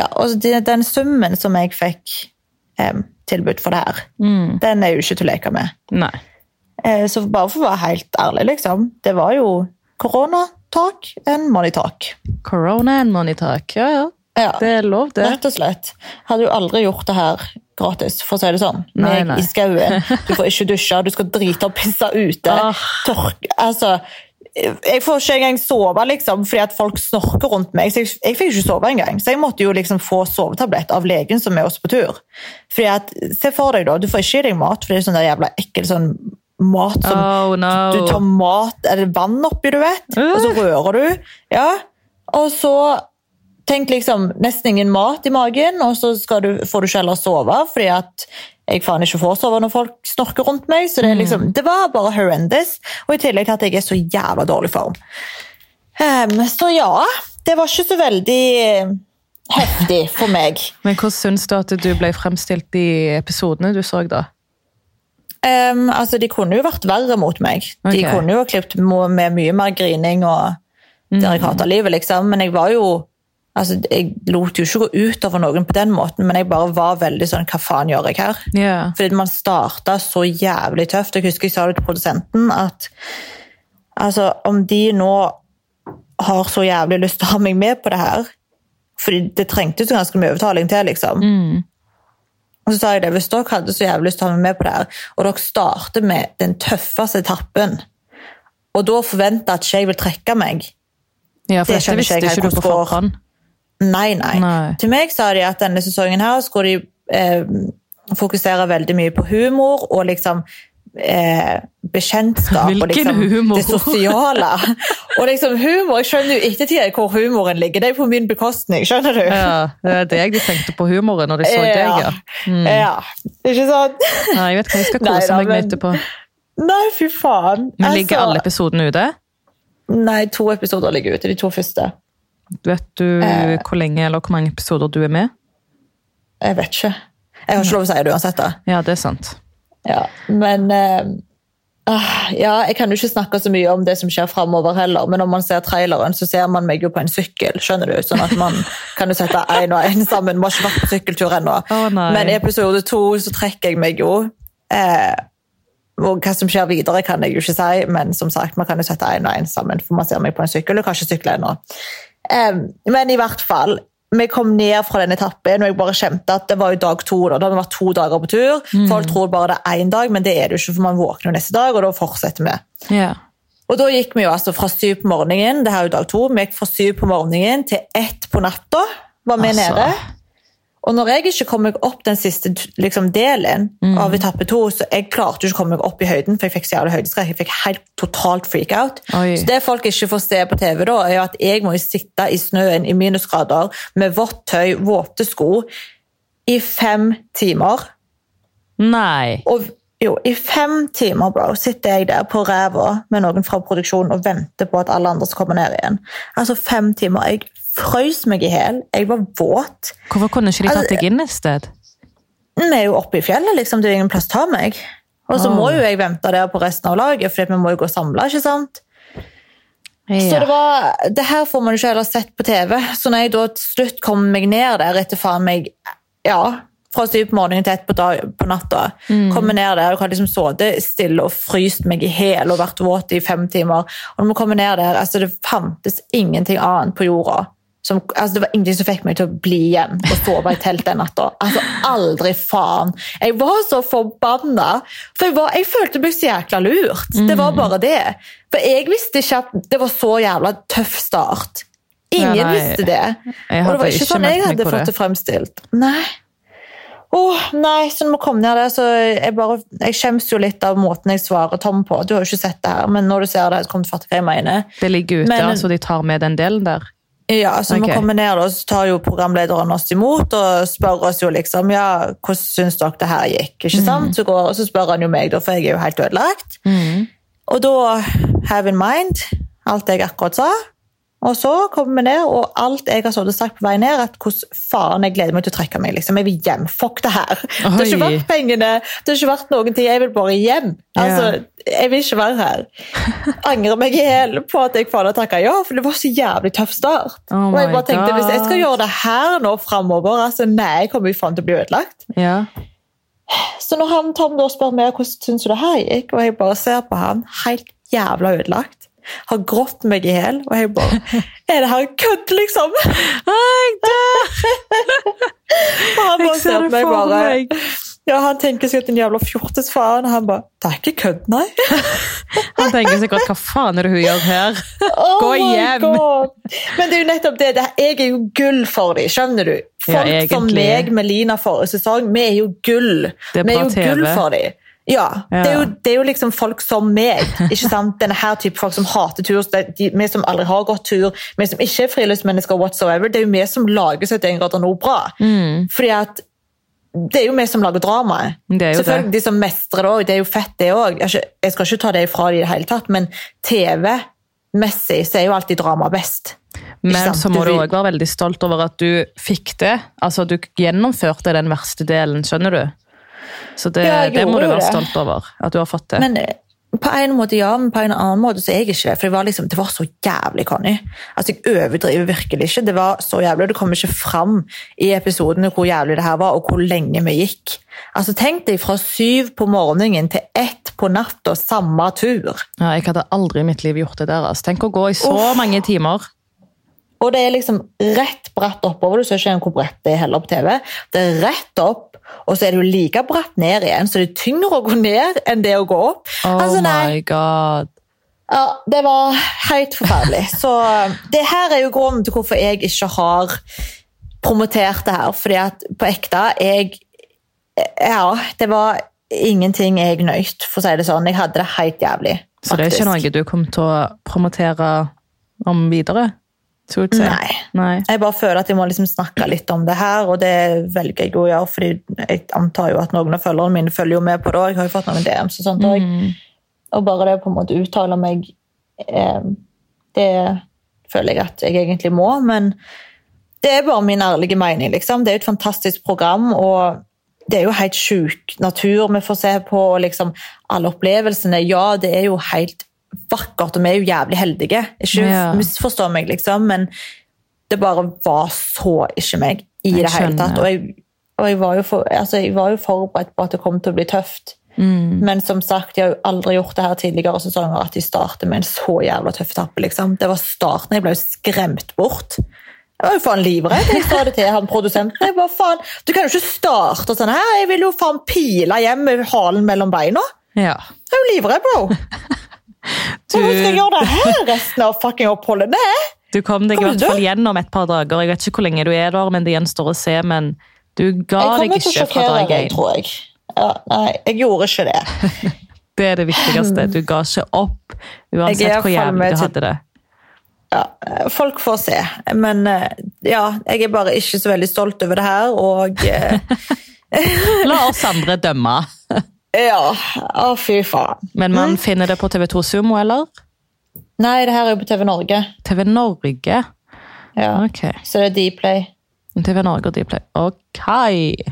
Ja, og så de- den summen som jeg fikk em, tilbud for det her, den er jo ikke til å leke med.
Nei.
Eh, Så bare for å være helt ærlig, liksom. Det var jo koronatak enn moneytak.
Corona and money talk. Ja, ja.
Ja,
Det er lov, det.
rett og slett. Hadde jo aldri gjort det her gratis, for å si det sånn.
Nei,
Meg
nei.
i skauen. Du får ikke dusje, du skal drite og pisse ute.
Ah.
Tørke Altså. Jeg får ikke engang sove liksom, fordi at folk snorker rundt meg. Så jeg, jeg fikk ikke sove engang. Så jeg måtte jo liksom få sovetablett av legen som er oss på tur. Fordi at, Se for deg, da. Du får ikke i deg mat, for det er sånn der jævla ekkel sånn mat som
Oh, no.
du tar mat eller vann oppi, du vet,
Øh.
og så rører du. Ja. Og så tenk liksom nesten ingen mat i magen, og så skal du, får du ikke heller sove, fordi at jeg faen ikke får sove når folk snorker rundt meg. Så det, er liksom, det var bare horrendous. Og i tillegg til at jeg er så jævla dårlig form. Ehm, så ja, det var ikke så veldig eh, heftig for meg.
Men hvordan syns du at du ble fremstilt i episodene du så, da?
Ehm, altså, de kunne jo vært verre mot meg. De
Ok.
kunne jo ha klippet mo- med mye mer grining og der jeg hater livet, liksom. Men jeg var jo Altså, jeg lot jo ikke gå ut over noen på den måten, men jeg bare var veldig sånn Hva faen gjør jeg her?
Ja.
Fordi man starta så jævlig tøft. Jeg husker jeg sa det til produsenten at altså, om de nå har så jævlig lyst til å ha meg med på det her Fordi det trengtes jo ganske mye overtaling til, liksom. Og så sa jeg det, hvis dere hadde så jævlig lyst til å ha meg med på det her, og dere starter med den tøffeste etappen, og da forventer at ikke jeg vil trekke meg
ja, for
Det
dette
skjønner ikke
visste
jeg
ikke
helt
du på
hvordan går.
forhånd.
Nei, nei,
Nei.
Til meg sa de at denne sesongen her skulle de eh, fokusere veldig mye på humor og liksom eh, bekjentskap. og
Hvilken
liksom
humor?
Det sosiale. og liksom humor, jeg skjønner jo ettertid hvor humoren ligger. Det er på min bekostning, skjønner du?
Ja, det er
<laughs>
deg de tenkte på humoren når de så deg, ja. Mm.
ja. Ikke sant? <laughs>
Nei, jeg vet hva jeg skal
Nei
kose
da,
meg med
men-
etterpå.
Nei, fy faen.
Men ligger
Altså,
alle episodene ute?
Nei, to episoder ligger ute. De to første.
Vet du
Eh.
hvor lenge eller hvor mange episoder du er med?
Jeg vet ikke. Jeg har ikke lov å si det uansett. da.
Ja, det er sant.
Ja, men eh, ah, ja, Jeg kan jo ikke snakke så mye om det som skjer framover heller, men når man ser traileren, så ser man meg jo på en sykkel. skjønner du? Sånn at
<laughs>
man kan jo sette én og én sammen. Man har ikke vært på sykkeltur ennå.
Å, nei.
men i episode to så trekker jeg meg jo. Eh, og hva som skjer videre, kan jeg jo ikke si, men som sagt, man kan jo sette én og én sammen, for man ser meg på en sykkel og kan ikke sykle ennå. Em, men i hvert fall, vi kom ned fra den etappen, og jeg bare kjente at det var jo dag to. Da, da har vi vært to dager på tur. Folk tror bare det er én dag, men det er det jo ikke, for man våkner jo neste dag, og da fortsetter vi.
Ja.
Og da gikk vi jo altså fra syv på morgenen, det her er jo dag to, vi gikk fra syv på morgenen til ett på natta, var vi
Altså.
nede. Og når jeg ikke kom meg opp den siste liksom, delen
Mm.
av etappe to, så jeg klarte jo ikke å komme meg opp i høyden, for jeg fikk så jævlig høydeskrekk. Jeg fikk helt totalt freak out.
Oi.
Så det folk ikke får se på TV, da, er jo at jeg må jo sitte i snøen i minusgrader med vått tøy, våte sko, i fem timer.
Nei.
Og jo, i fem timer bro, sitter jeg der på ræva med noen fra produksjonen og venter på at alle andre skal komme ned igjen. Altså fem timer. Jeg frøs meg i hjel. Jeg var våt.
Hvorfor kunne ikke de
Altså,
tatt deg inn et sted?
Vi er jo oppe i fjellet, liksom. Det er jo ingen plass til å ta meg. Og så
Wow.
må jo jeg vente der på resten av laget, for vi må jo gå samla, ikke sant? Så det var Det her får man jo ikke ellers sett på TV. Så når jeg da til slutt kom meg ned der etter faen meg Ja, fra syv på morgenen til ett på, dag, på natta. Kom meg ned der og har liksom sittet stille og fryst meg i hæl og vært våt i fem timer. Og når man kommer ned der, altså det fantes ingenting annet på jorda. Som, altså det var ingenting som fikk meg til å bli igjen og sove i telt den natta. Altså, aldri faen! Jeg var så forbanna! For jeg, var, jeg følte meg så jækla lurt. Det var
Mm.
bare det. For jeg visste ikke at det var så jævla tøff start. Ingen
Ja, nei.
visste det. Og det
hadde
var ikke
ikke
sånn jeg
meldt meg
hadde
på
fått
det.
det fremstilt. Nei. Åh, nei, så når vi kom ned der, så jeg bare, jeg skjemmes jo litt av måten jeg svarer Tom på. Du har jo ikke sett det her, men når du ser det, så kommer du fatte hva jeg mener.
Det ligger ute,
Men-
altså de tar med den delen der.
Ja, så
Ok.
vi kommer ned, og så tar jo programlederen oss imot og spør oss jo liksom ja, hvordan syns dere det her gikk.
Mm.
ikke sant? Så går, og så spør han jo meg, da, for jeg er jo helt ødelagt.
Mm.
Og da have in mind alt jeg akkurat sa. Og så kommer vi ned, og alt jeg har stått og sagt på vei ned, at hvordan faen jeg gleder meg til å trekke meg. liksom. Jeg vil hjem. Fuck det her. <laughs> Det har ikke
Oi.
vært pengene, det har ikke vært noen ting. Jeg vil bare hjem. Altså, Jeg vil ikke være her. Angrer meg i hjel på at jeg faen har takka ja, for det var så jævlig tøff start.
Oh
og jeg
my
bare tenkte, Hvis jeg skal
God.
gjøre det her nå framover, altså nei, jeg kommer jo faen til å bli ødelagt.
Ja.
Så når han Tom da spør meg hvordan syns du det her gikk, og jeg bare ser på han helt jævla ødelagt, har grått meg i hjel, og jeg
<laughs>
bare Er det her kødd, liksom? <laughs> Og han bare
Jeg ser
ser
det
på meg
for
bare
meg.
Ja, han tenker seg at en jævla fjortis faen, og han bare Det er ikke kødd, nei.
Han tenker sikkert 'hva faen er det hun gjør her'? <laughs> Gå
Oh my
hjem!
God. Men det er jo nettopp det. det jeg er jo gull for dem, skjønner du?
Ja,
Folk som
egentlig.
meg med Lina forrige sesong, vi er jo gull.
Det er
vi er
bra
jo
TV.
gull for dem. Ja,
Ja.
Det, er jo, det er jo liksom folk som meg. ikke sant?
<laughs>
Denne her type folk som hater tur, så det- de, vi som aldri har gått tur, vi som ikke er friluftsmennesker whatsoever. Det er jo vi som lager 71 grader nord bra.
Mm.
Fordi at det er jo vi som lager dramaet.
Det er jo
Selvfølgelig
det.
de som mestrer det òg. Det er jo fett, det òg. Jeg skal- jeg skal ikke ta det ifra dem i det hele tatt, men TV-messig så er jo alltid drama best.
Men
sant?
så
Du
må du
vil-
òg være veldig stolt over at du fikk det. Altså, du gjennomførte den verste delen, skjønner du? Så det,
Ja, jeg
det
gjorde
må du
jo
være
det.
stolt over, at du har fått det.
Men eh, på en måte ja, men på en annen måte så er jeg ikke det. For det var liksom, det var så jævlig, Conny. Altså, jeg overdriver virkelig ikke. Det var så jævlig, og det kommer ikke fram i episodene hvor jævlig det her var, og hvor lenge vi gikk. Altså, tenk deg fra syv på morgenen til ett på natta, samme tur.
Ja, jeg hadde aldri i mitt liv gjort det der. Altså. Tenk å gå i så
Uff.
mange timer.
Og det er liksom rett bratt oppover. Du ser ikke engang hvor bratt det er heller på TV. Det er rett opp, og så er det jo like bratt ned igjen, så det er tyngre å gå ned enn det å gå opp.
Oh
altså, nei.
my god.
Ja, det var helt forferdelig. <laughs> Så um, det her er jo grunnen til hvorfor jeg ikke har promotert det her, fordi at på ekte jeg Ja, det var ingenting jeg nøyt, for å si det sånn. Jeg hadde det helt jævlig.
Så det er ikke
faktisk.
noe du kommer til å promotere om videre? Så å si.
Nei.
Nei.
Jeg bare føler at jeg må liksom snakke litt om det her, og det velger jeg jo å gjøre, fordi jeg antar jo at noen av følgerne mine følger jo med på det, og jeg har jo fått noen DMs og sånt også.
Mm.
Og bare det å på en måte uttale meg, eh, det føler jeg at jeg egentlig må, men det er bare min ærlige mening, liksom. Det er jo et fantastisk program, og det er jo helt sjuk natur vi får se på, og liksom alle opplevelsene. Ja, det er jo helt vakkert, og vi er jo jævlig heldige. Ikke
Ja.
misforstå meg, liksom, men det bare var så ikke meg i
Jeg
det hele tatt.
skjønner.
Og jeg, og jeg, var, jo for, altså, jeg var jo forberedt på at det kom til å bli tøft.
Mm.
Men som sagt, jeg har jo aldri gjort det her tidligere sesonger at de starter med en så jævla tøff etappe. Liksom. Det var starten. Jeg ble jo skremt bort. Jeg var jo faen livredd. Jeg sa det til han produsenten. Jeg bare, faen, Du kan jo ikke starte sånn her. Jeg vil jo faen pile hjem med halen mellom beina.
Ja.
Jeg er jo livredd,
<laughs>
bro. Hvordan skal jeg
Du,
gjøre det her resten av fucking oppholdet? Nei.
du kom deg i
Kommer
hvert
du?
fall gjennom et par dager. Jeg vet ikke hvor lenge du er der, men det gjenstår å se. Men du ga
Jeg
deg
kommer til å
ikke fra
sjokkere
dag
deg,
én.
tror jeg. Ja, nei, jeg gjorde ikke det.
Det er det viktigste. Du ga ikke opp,
Jeg
uansett
er
hvor
faen meg
jævlig du
til-
hadde det.
ja, Eh, folk får se. Men eh, ja, jeg er bare ikke så veldig stolt over det her, og eh,
La oss andre dømme.
ja, å fy faen.
Men man finner det på TV2 Sumo, eller?
Nei, det her er jo på TV Norge.
TV Norge.
Ja.
Ok.
Så det er Dplay.
TV Norge og Dplay. Ok.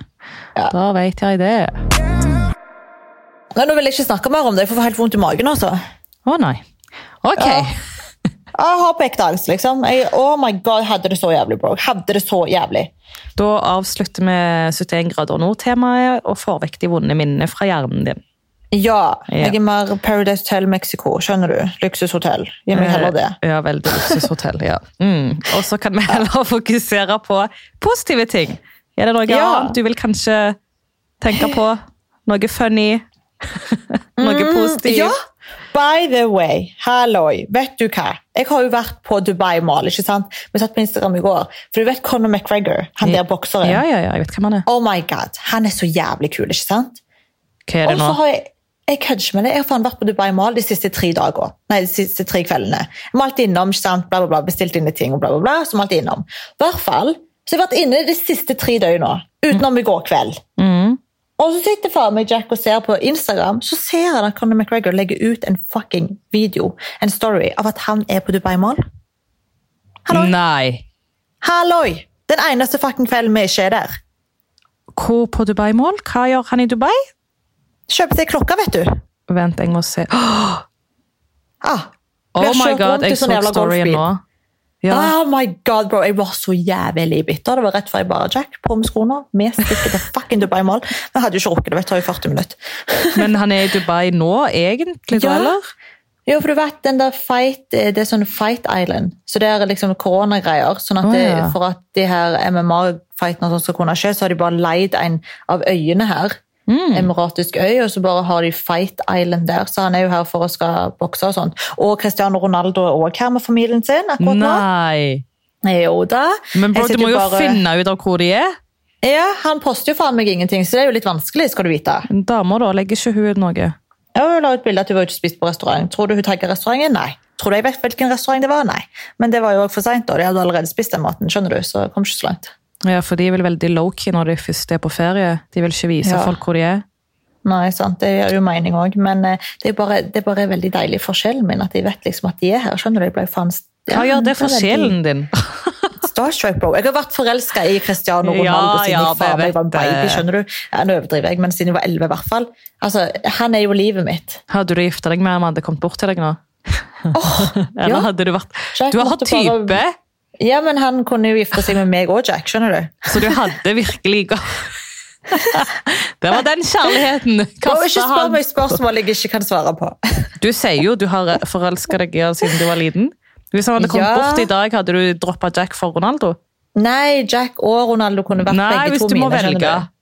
Ja.
Da vet jeg det.
Nei, nå vil jeg ikke snakke mer om det, for jeg får helt vondt i magen, altså.
Å nei. Ok.
Ja. Jeg har på ekte angst, liksom. Jeg, oh my god, hadde det så jævlig, bro. Hadde det så jævlig.
Da avslutter vi 71 grader nord-temaet og får vekk de vonde minnene fra hjernen din.
Ja.
Ja.
Jeg er mer Paradise Hotel Mexico, skjønner du. Luksushotell. Gi meg heller det.
Eh, Ja, veldig luksushotell, ja. Mm. Og så kan vi heller <laughs> fokusere på positive ting. Er det noe
Ja.
annet du vil kanskje tenke på? Noe funny? <laughs> noe positivt?
Mm, Ja! By the way, halloi, vet du hva? Jeg har jo vært på Dubai Mall, ikke sant? Vi satt på Instagram i går, for du vet Conor McGregor, han der bokseren.
Ja, ja, ja, jeg vet hvem han er.
Oh my god, han er så jævlig kul, ikke sant?
Hva er
Og
det
så
nå?
har jeg jeg kødder ikke med det. Jeg har faen vært på Dubai Mall de siste tre dager. Nei, de siste tre kveldene. Jeg må alltid innom, ikke sant? Bla, bla, bla. Bestilt inn i ting og bla, bla, bla. Så må jeg alltid innom. I hvert fall, så jeg har vært inne de siste tre døgna. Utenom i går kveld.
Mm.
Og så sitter faen meg Jack og ser på Instagram, så ser han at Conor McGregor legger ut en fucking video, en story, av at han er på Dubai Mall. Halloi!
Nei.
Halloi! Den eneste fucking kvelden vi ikke er der.
Hvor på Dubai Mall? Hva gjør han i Dubai?
Kjøper seg klokka, vet du.
Vent, jeg må
<gasps>
se.
Ah,
Oh
blir kjørt
my
rundt
god,
i
jeg så
sånn jævla
storyen
golfbil.
nå. Ja.
Oh my god, bro. Jeg var så jævlig bitter. Det var rett før jeg bare Jack på med skoene. Vi stikker til fucking Dubai Mall. Men jeg hadde jo ikke rukket det. Det tar jo 40 minutter.
Men han er i Dubai nå, egentlig, da,
Ja.
eller?
<laughs> Jo, for du vet, den der fight, det er sånn Fight Island. Så det er liksom koronagreier. Sånn at
Å,
det,
ja.
for at de her MMA-fightene og sånn skal kunne skje, så har de bare leid en av øyene her.
Mm.
Emiratisk øy, og så bare har de Fight Island der. Så han er jo her for å skal bokse og sånn. Og Cristiano Ronaldo er også her med familien sin akkurat nå.
Nei.
Jo da.
Men bro,
Jeg
du må
sitter
jo
bare-
finne ut av hvor de er.
Ja, han poster jo faen meg ingenting, så det er jo litt vanskelig, skal du vite.
Men Damer, da, legger ikke hun ut noe?
Ja, Hun la ut bilde at hun var ute og spiste på restaurant. Tror du hun tagget restauranten? Nei. Tror du jeg vet hvilken restaurant det var? Nei. Men det var jo også for seint, da. De hadde allerede spist den maten, skjønner du, så det kom ikke så langt.
Ja, for de er vel veldig low-key når de først er på ferie. De vil ikke vise
Ja.
folk hvor de er.
Nei, sant, det gjør jo mening òg, men eh, det er, bare, det er bare veldig deilig for sjelen min at de vet liksom at de er her, skjønner du. Jeg ble jo faen
Hva gjør det for
er veldig
sjelen din?
<laughs> Starstruck, bro. Jeg har vært forelska i Cristiano Ronaldo
Ja,
siden
ja,
jeg, faen,
jeg
jeg var en
vet det.
baby, skjønner du. Ja, nå overdriver jeg, men siden jeg var elleve, i hvert fall. Altså, han er jo livet mitt.
Hadde du gifta deg med ham hadde kommet bort til deg nå? <laughs> Eller
ja.
hadde du vært
Jack
Du har hatt
måtte bare- <laughs>
type,
Ja, men han kunne jo gifte seg med meg og Jack, skjønner du?
så du hadde virkelig ga- <laughs> Det var den kjærligheten.
Og
Kasta
ikke spør
han.
meg spørsmål jeg ikke kan svare på. <laughs>
Du sier jo du har forelska deg i ham siden du var liten. Hvis han hadde kommet
Ja.
bort i dag, hadde du droppa Jack for Ronaldo?
Nei, Jack og Ronaldo kunne vært
Nei,
begge
hvis
to
du må
mine, skjønner
velge.
du.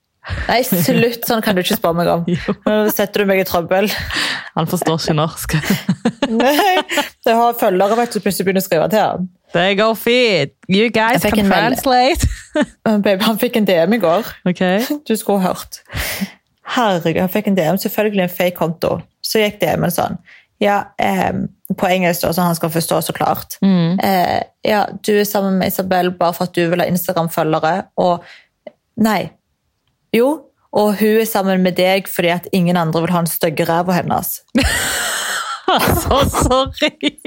Nei, slutt, sånn kan du ikke spørre
<laughs>
meg om. Nå setter du meg i trøbbel. <laughs>
Han forstår ikke norsk. <laughs>
Nei, det har følgere, vet du, som plutselig begynner å skrive til ham.
They go fit. You guys
Jeg fikk
can
en melding.
translate.
Men Babe, han fikk en DM i går.
<laughs> Ok.
Du skulle ha hørt. Herregud, han fikk en DM, selvfølgelig en fake konto. Så gikk DM-en sånn. Ja, eh, på engelsk da, så han skal forstå så klart. Eh, ja, du er sammen med Isabel bare for at du vil ha Instagram-følgere, og nei, jo, og hun er sammen med deg fordi at ingen andre vil ha en stygge ræv av hennes. Altså,
Så sorry!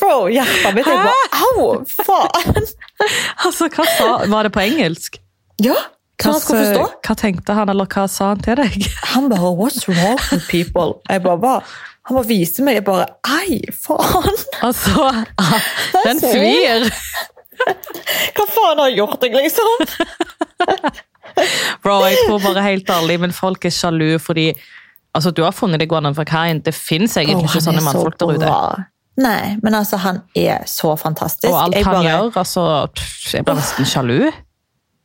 Bro, hjertet mitt er bare, au, faen!
Altså, hva sa, Var det på engelsk?
<laughs> Ja, hva han skal forstå?
hva tenkte han, eller hva sa han til deg? <laughs>
Han bare, what's wrong with people? Jeg bare, hva? Han bare viser meg, jeg bare, ei, faen!
Altså, ah, den
sorry.
flyr!
Hva faen har jeg gjort deg, liksom?
Bro, jeg tror bare helt ærlig, men folk er sjalu fordi altså, Du har funnet deg gjennom for kaien. Det fins egentlig ikke sånne mannfolk der ute.
Nei, men altså, han er så fantastisk.
Og alt
jeg
han
bare-
gjør, altså pff, Jeg blir nesten sjalu.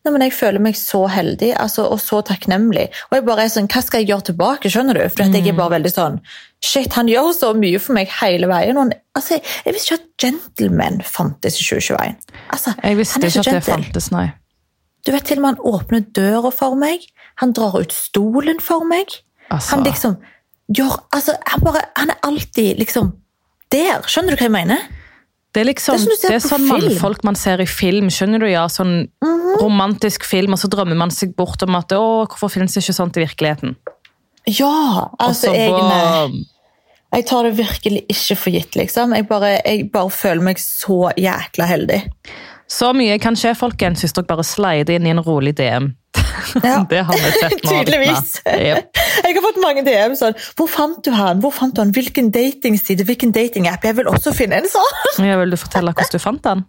Nei, men jeg føler meg så heldig altså, og så takknemlig. Og jeg bare er sånn, hva skal jeg gjøre tilbake, skjønner du? For at jeg er
Mm.
bare veldig sånn, shit, han gjør så mye for meg hele veien. Og han, altså, jeg, jeg visste ikke at gentleman fantes i 2021. Altså,
Jeg visste
han er
ikke
så
at det
gentle.
fantes, nei.
Du vet til og med han åpner døra for meg. Han drar ut stolen for meg.
Altså.
Han liksom gjør Altså, han bare Han er alltid liksom der. Skjønner du hva jeg mener?
Det er liksom,
Det er som du ser
det er
på
sånn
film. Mhm.
mannfolk man ser i film, skjønner du? ja, Sånn romantisk film, og så drømmer man seg bort om at å, hvorfor finnes det ikke sånt i virkeligheten?
Ja!
Og
Altså,
så
jeg, nei,
bare-
jeg tar det virkelig ikke for gitt, liksom. Jeg bare, jeg bare føler meg så jækla heldig. <laughs>
Så mye kan skje, folkens, hvis dere bare slider inn i en rolig DM. <laughs>
Ja.
det har vi sett nå.
Tydeligvis.
Jep.
Jeg har fått mange DM sånn Hvor fant du han? Hvor fant du han? Hvilken datingside? Hvilken datingapp? Jeg vil også finne en sånn! <laughs>
Ja, vil du fortelle hvordan du fant den?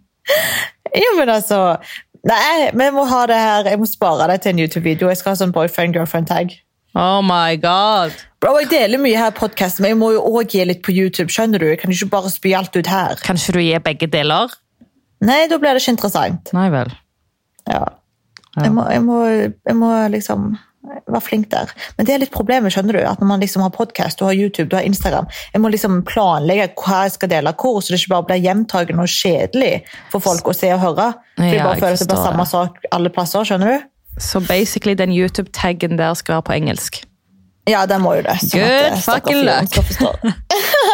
Jo, men altså Nei, vi må ha det her. Jeg må spare det til en YouTube-video. Jeg skal ha sånn boyfriend-girlfriend-tag.
Oh my god!
Bro, Jeg deler mye her i podkasten, men jeg må jo òg gi litt på YouTube. skjønner du? Jeg kan ikke bare spy alt ut her.
Kan ikke du gi begge deler?
Nei, da blir det ikke interessant.
Nei vel.
Ja. Jeg, må, jeg, må, jeg må liksom være flink der. Men det er litt problemet, skjønner du. At når man liksom har podkast, du har YouTube, du har Instagram Jeg må liksom planlegge hva jeg skal dele hvor, så det ikke bare blir gjentagende og kjedelig for folk å se og høre. For de
Ja,
bare
jeg
føler at det
forstår
blir samme sak alle plasser, skjønner du?
Så basically den YouTube-taggen der skal være på engelsk.
Ja, den må jo det. sånn at,
Good
eh, stakkars
fucking
fyren
luck.
skal forstå.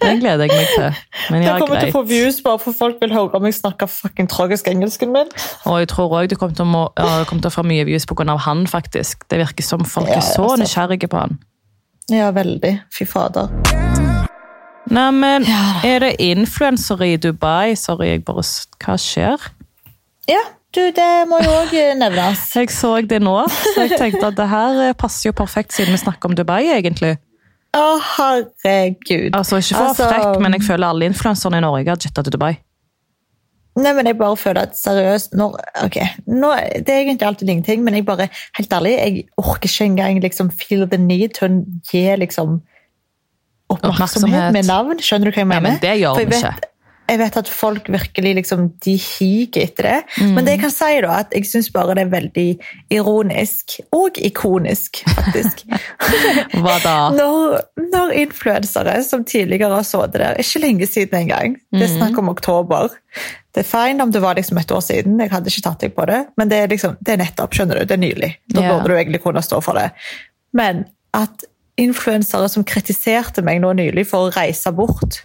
Den gleder jeg meg til. Men <laughs> ja,
Jeg kommer til å
greit.
få views bare for folk vil høre om jeg snakker fucking tragisk engelsken min.
Og jeg tror òg du kommer til, å må, ja, kommer til å få mye views pga. han, faktisk. Det virker som folk
Ja,
er så
jeg
nysgjerrige på han.
Ja, veldig. Fy fader.
Neimen,
Ja.
er det influensere i Dubai? Sorry, jeg bare s- Hva skjer?
Ja, du, det må jo òg nevnes.
Jeg så det nå, så jeg tenkte at det her eh, passer jo perfekt siden vi snakker om Dubai, egentlig.
Å, herregud.
Altså, ikke for å
Altså,
være frekk, men jeg føler alle influenserne i Norge har jetta til Dubai.
Nei, men jeg bare føler at seriøst når, Ok, nå, det er egentlig alltid ingenting, men jeg bare, helt ærlig, jeg orker ikke engang liksom feel the need til å gi liksom oppmerksomhet,
Oppmerksomhet.
med navn. Skjønner du hva jeg
Ja,
mener?
men det gjør
For jeg
vi
vet-
ikke.
Jeg vet at folk virkelig liksom, de higer etter det.
Mm.
Men det jeg kan si da, at jeg syns bare det er veldig ironisk, og ikonisk, faktisk,
<laughs> Hva da?
når, når influensere som tidligere har sittet der Ikke lenge siden engang. Det er snakk om oktober. Det er fine om det var liksom et år siden, jeg hadde ikke tatt deg på det. Men det er, liksom, det er nettopp, skjønner du. Det er nylig. Da
Ja.
burde du egentlig kunne stå for det. Men at influensere som kritiserte meg nå nylig for å reise bort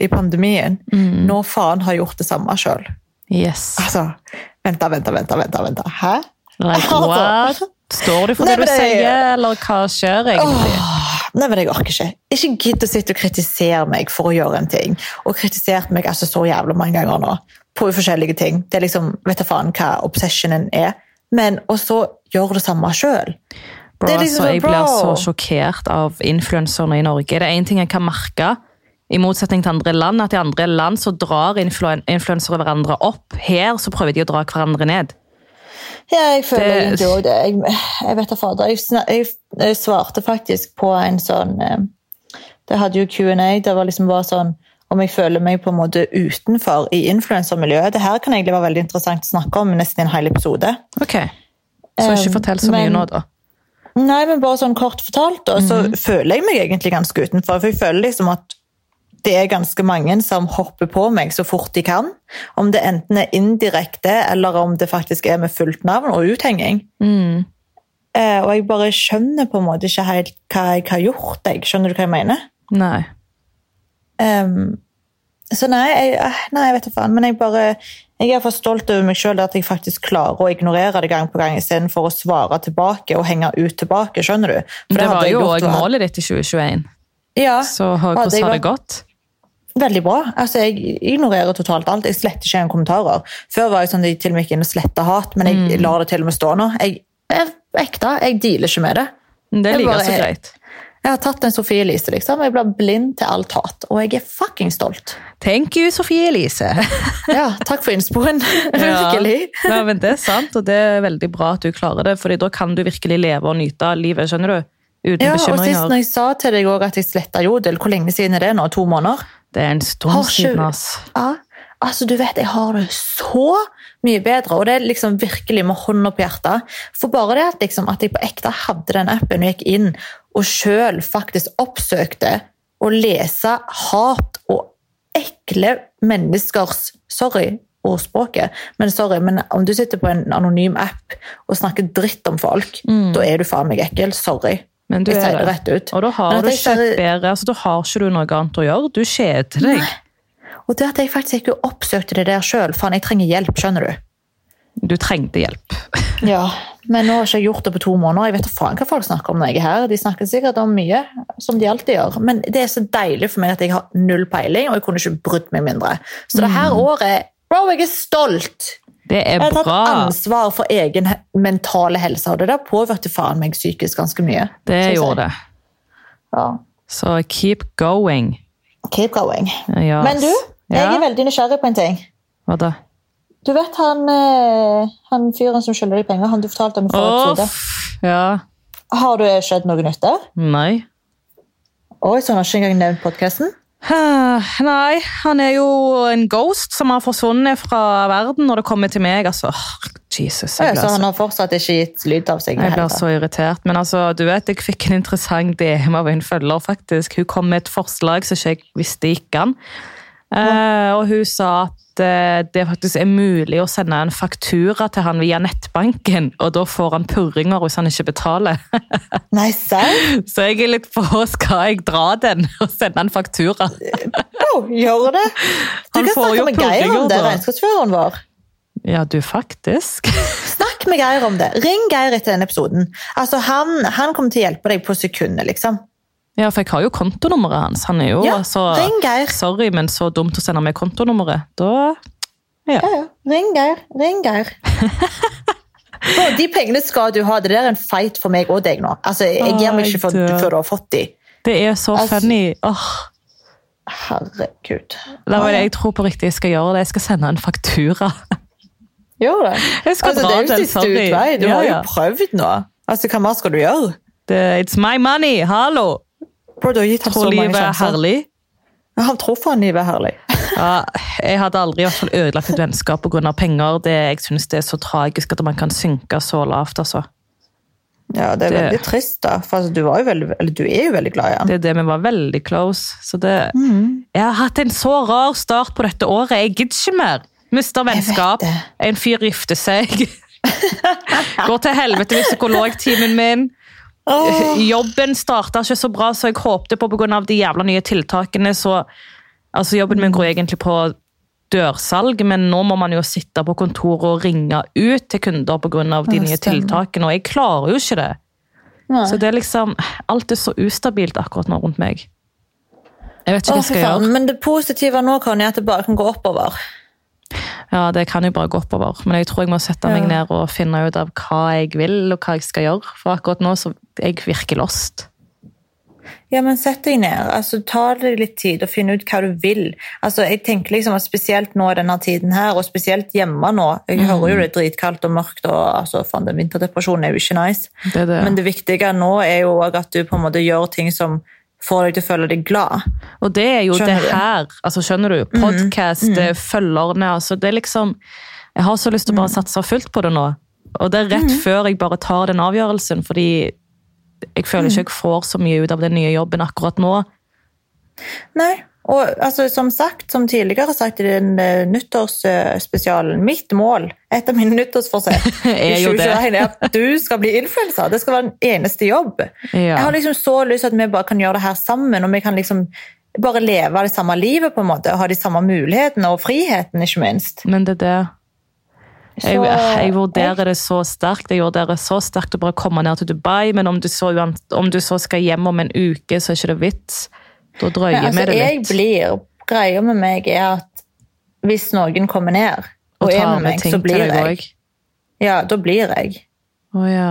i pandemien, nå faen har gjort det samme sjøl.
Yes.
Altså, vent, da, vent, da, vent, da, vent, da, vent. da. Hæ?
<laughs> Like,
Altså.
what? Står du for
Nei,
det du
men det-
sier, eller hva skjer egentlig?
Nei, men jeg orker ikke. Ikke gidd å sitte og kritisere meg for å gjøre en ting. Og kritisert meg altså så jævla mange ganger nå på forskjellige ting. Det er liksom, vet du faen hva obsessionen er. Men og så gjør det samme sjøl.
Bro,
Det er liksom
altså,
så
jeg
bra.
blir så sjokkert av influenserne i Norge. Det er én ting jeg kan merke, i motsetning til andre land, at i andre land så drar influen influensere hverandre opp. Her så prøver de å dra hverandre ned.
Ja, jeg føler
Det-
egentlig også det. Jeg, jeg vet da fader. Jeg, sna- jeg, jeg svarte faktisk på en sånn eh, Det hadde jo Q&A. Det var liksom bare sånn om jeg føler meg på en måte utenfor i influensermiljøet. Det her kan egentlig være veldig interessant å snakke om i nesten en hel episode.
Ok, Så ikke
Um,
fortell så mye
men-
nå, da.
Nei, men bare sånn kort fortalt, da, så føler jeg meg egentlig ganske utenfor. For jeg føler liksom at det er ganske mange som hopper på meg så fort de kan. Om det enten er indirekte, eller om det faktisk er med fullt navn og uthenging. Eh, og jeg bare skjønner på en måte ikke helt hva jeg har gjort. Jeg. Skjønner du hva jeg mener?
Nei.
Ehm, så nei, jeg, eh, nei, jeg vet da faen. Men jeg bare jeg er for stolt over meg sjøl at jeg faktisk klarer å ignorere det gang på gang istedenfor å svare tilbake og henge ut tilbake. skjønner du? For
Det, var
hadde jeg
jo
gjort,
òg
og-
målet ditt i 2021.
Ja,
Så har-
hadde jeg
hvordan har det
vært-
gått?
Veldig bra. Altså, Jeg ignorerer totalt alt. Jeg sletter ikke engang kommentarer. Før var jeg sånn at jeg til og med gikk inn og sletta hat, men jeg
Mm.
lar det til og med stå nå. Jeg er ekte. Jeg dealer ikke med det.
Det
Jeg
liker
bare-
så greit.
Jeg har tatt en Sofie Elise, liksom. Jeg blir blind til alt hat. Og jeg er fucking stolt.
Thank you,
<laughs>
Sofie Elise.
Ja, takk for innspoen.
<laughs>
<laughs>
Ja.
Virkelig.
ja, men det er sant, og det er veldig bra at du klarer det, for da kan du virkelig leve og nyte av livet, skjønner du? Uten
Ja, og sist
bekymringer.
når jeg sa til deg også at jeg sletta Jodel, hvor lenge siden er det nå? To måneder?
Det er en stund
Har ikke-
siden, ass.
Ja, altså du vet, jeg har det så mye bedre, og det er liksom virkelig med hånda på hjertet. For bare det at, liksom, at jeg på ekte hadde den appen og gikk inn og sjøl faktisk oppsøkte å lese hat og ekle menneskers Sorry ordspråket, men sorry, men om du sitter på en anonym app og snakker dritt om folk, da er du faen meg ekkel. Sorry.
Mm. Men du
jeg
er
sier det
det.
rett ut.
Og da
Men
har
at
du
jeg
ikke
ser-
et bedre, altså da har ikke du noe annet å gjøre. Du kjeder deg.
Og det at jeg faktisk ikke oppsøkte det der sjøl, faen, jeg trenger hjelp, skjønner du.
Du trengte hjelp. <laughs>
Ja, men nå har jeg ikke gjort det på to måneder. Jeg vet da faen hva folk snakker om når jeg er her. De snakker sikkert om mye, som de alltid gjør. Men
Mm.
det er så deilig for meg at jeg har null peiling, og jeg kunne ikke brydd meg mindre. Så det her året Bro, jeg er stolt!
Det er
Jeg har
bra.
tatt ansvar for egen he- mentale helse, og det der påvirkte faen meg psykisk ganske mye.
Det
synes jeg.
gjorde det.
Ja.
Så keep going.
Keep going.
Yes.
Men du, jeg
Ja,
er veldig nysgjerrig på en ting.
Hva da?
Du vet han, eh, han fyren som skylder deg penger, han du fortalte om i forrige
Åh,
episode.
f- ja.
Har det skjedd noe nytt der?
Nei.
Oi, så han har ikke engang nevnt podkasten?
Eh, Nei, han er jo en ghost som har forsvunnet fra verden når det kommer til meg. Altså, Åh, Jesus,
Så
jeg blir,
han
så,
har fortsatt ikke gitt lyd av seg? i det
jeg
hele
blir
tatt.
så irritert. Men altså, du vet, jeg fikk en interessant DM av en følger, faktisk. Hun kom med et forslag som ikke jeg visste gikk an. Eh, og hun sa at eh, det faktisk er mulig å sende en faktura til han via nettbanken, og da får han purringer hvis han ikke betaler. <laughs>
Nei, serr?
Så jeg er litt på skal jeg dra den og sende en faktura.
Bro, gjør det! Du
Han
kan
får jo
snakke med Geir
purringer,
om det,
da.
regnskapsføreren vår.
Ja, du, faktisk.
Snakk med Geir om det. Ring Geir etter denne episoden. Altså, Han, han kommer til å hjelpe deg på sekundet, liksom.
Ja, for jeg har jo kontonummeret hans. Han er jo
Ja,
altså,
ring Geir.
Sorry, men så dumt å sende meg kontonummeret. Da
Ja, ja. Ring Geir. Ring Geir. Bro, de pengene skal du ha. Det der er en fight for meg og deg nå. Altså, Jeg gir meg ikke for,
Ai, du.
før du har fått de.
Det er så
Altså-
funny. Åh,
Herregud.
det var det jeg tror på riktig jeg skal gjøre. det. Jeg skal sende en faktura. <laughs>
Gjør det.
Jeg skal
altså,
dra
det er jo
den,
siste
sorry.
utvei. Du
Ja,
har jo
ja.
prøvd nå. Altså, Hva mer skal du gjøre?
Det, it's my money! Hallo!
Bro, du har gitt ham så
Tror
mange
livet er
sjanser.
herlig?
Ja, Han tror faen livet er herlig.
Ja, jeg hadde aldri i hvert fall ødelagt et vennskap pga. penger. Det, jeg synes det er så tragisk at man kan synke så lavt. altså.
Ja, Det er
Det-
veldig trist, da. For altså, du, var jo veldig, eller, du er jo veldig glad i han.
Det er det vi var veldig close. Så det,
Mm.
Jeg har hatt en så rar start på dette året. Jeg gidder ikke mer. Mister vennskap.
det.
En fyr gifter seg. <laughs> Går til helvete med psykologtimen min. Jobben starta ikke så bra som jeg håpte på pga. de jævla nye tiltakene. Så, altså, jobben min går egentlig på dørsalg, men nå må man jo sitte på kontoret og ringe ut til kunder pga. de
Ja, stemmer.
nye tiltakene, og jeg klarer jo ikke det.
Nei.
Så det er liksom, Alt er så ustabilt akkurat nå rundt meg. Jeg vet ikke
Å,
hva jeg
fy
skal
faen.
gjøre.
Men det positive nå Conny, er at det bare kan gå oppover.
Ja, Det kan jo bare gå oppover. Men jeg tror jeg må sette meg
Ja.
ned og finne ut av hva jeg vil og hva jeg skal gjøre. For akkurat nå så jeg virker lost.
Ja, men Sett deg ned. altså Ta deg litt tid og finn ut hva du vil. Altså, jeg tenker liksom at Spesielt nå i denne tiden her, og spesielt hjemme nå.
Mm.
Jeg hører jo det er dritkaldt og mørkt, og altså, faen, den vinterdepresjonen er jo ikke nice.
Det er det.
Men det viktige nå er jo også at du på en måte gjør ting som får deg til å føle deg glad.
Og det er jo
Skjønner du?
det
Mm-hmm.
her. altså Skjønner du? Podkast, følgerne altså Det er liksom Jeg har så lyst til å
Mm.
bare satse fullt på det nå. Og det er rett
Mm-hmm.
før jeg bare tar den avgjørelsen, fordi jeg føler
Mm.
ikke jeg får så mye ut av den nye jobben akkurat nå.
Nei. Og altså, som sagt, som tidligere sagt i den eh, nyttårsspesialen, mitt mål, et av mine
<laughs>
nyttårsforsett
Er
i
jo det.
2021 er at du skal bli influenser. Det skal være den eneste jobb. Jeg har liksom så lyst til at vi bare kan gjøre det her sammen, og vi kan liksom bare leve det samme livet, på en måte, og ha de samme mulighetene og friheten, ikke minst.
Men det er det. Jeg,
Så-
jeg vurderer det så sterkt. Jeg vurderer så sterkt å bare komme ned til Dubai, men om du så, uan- om du så skal hjem om en uke, så er ikke det vits. Da
Men,
drøyer vi
altså,
det
jeg
litt.
blir, Greia med meg er at hvis noen kommer ned og,
og
er
tar
med meg,
ting
så
til
blir
deg
jeg.
også.
Ja, da blir jeg.
Å ja.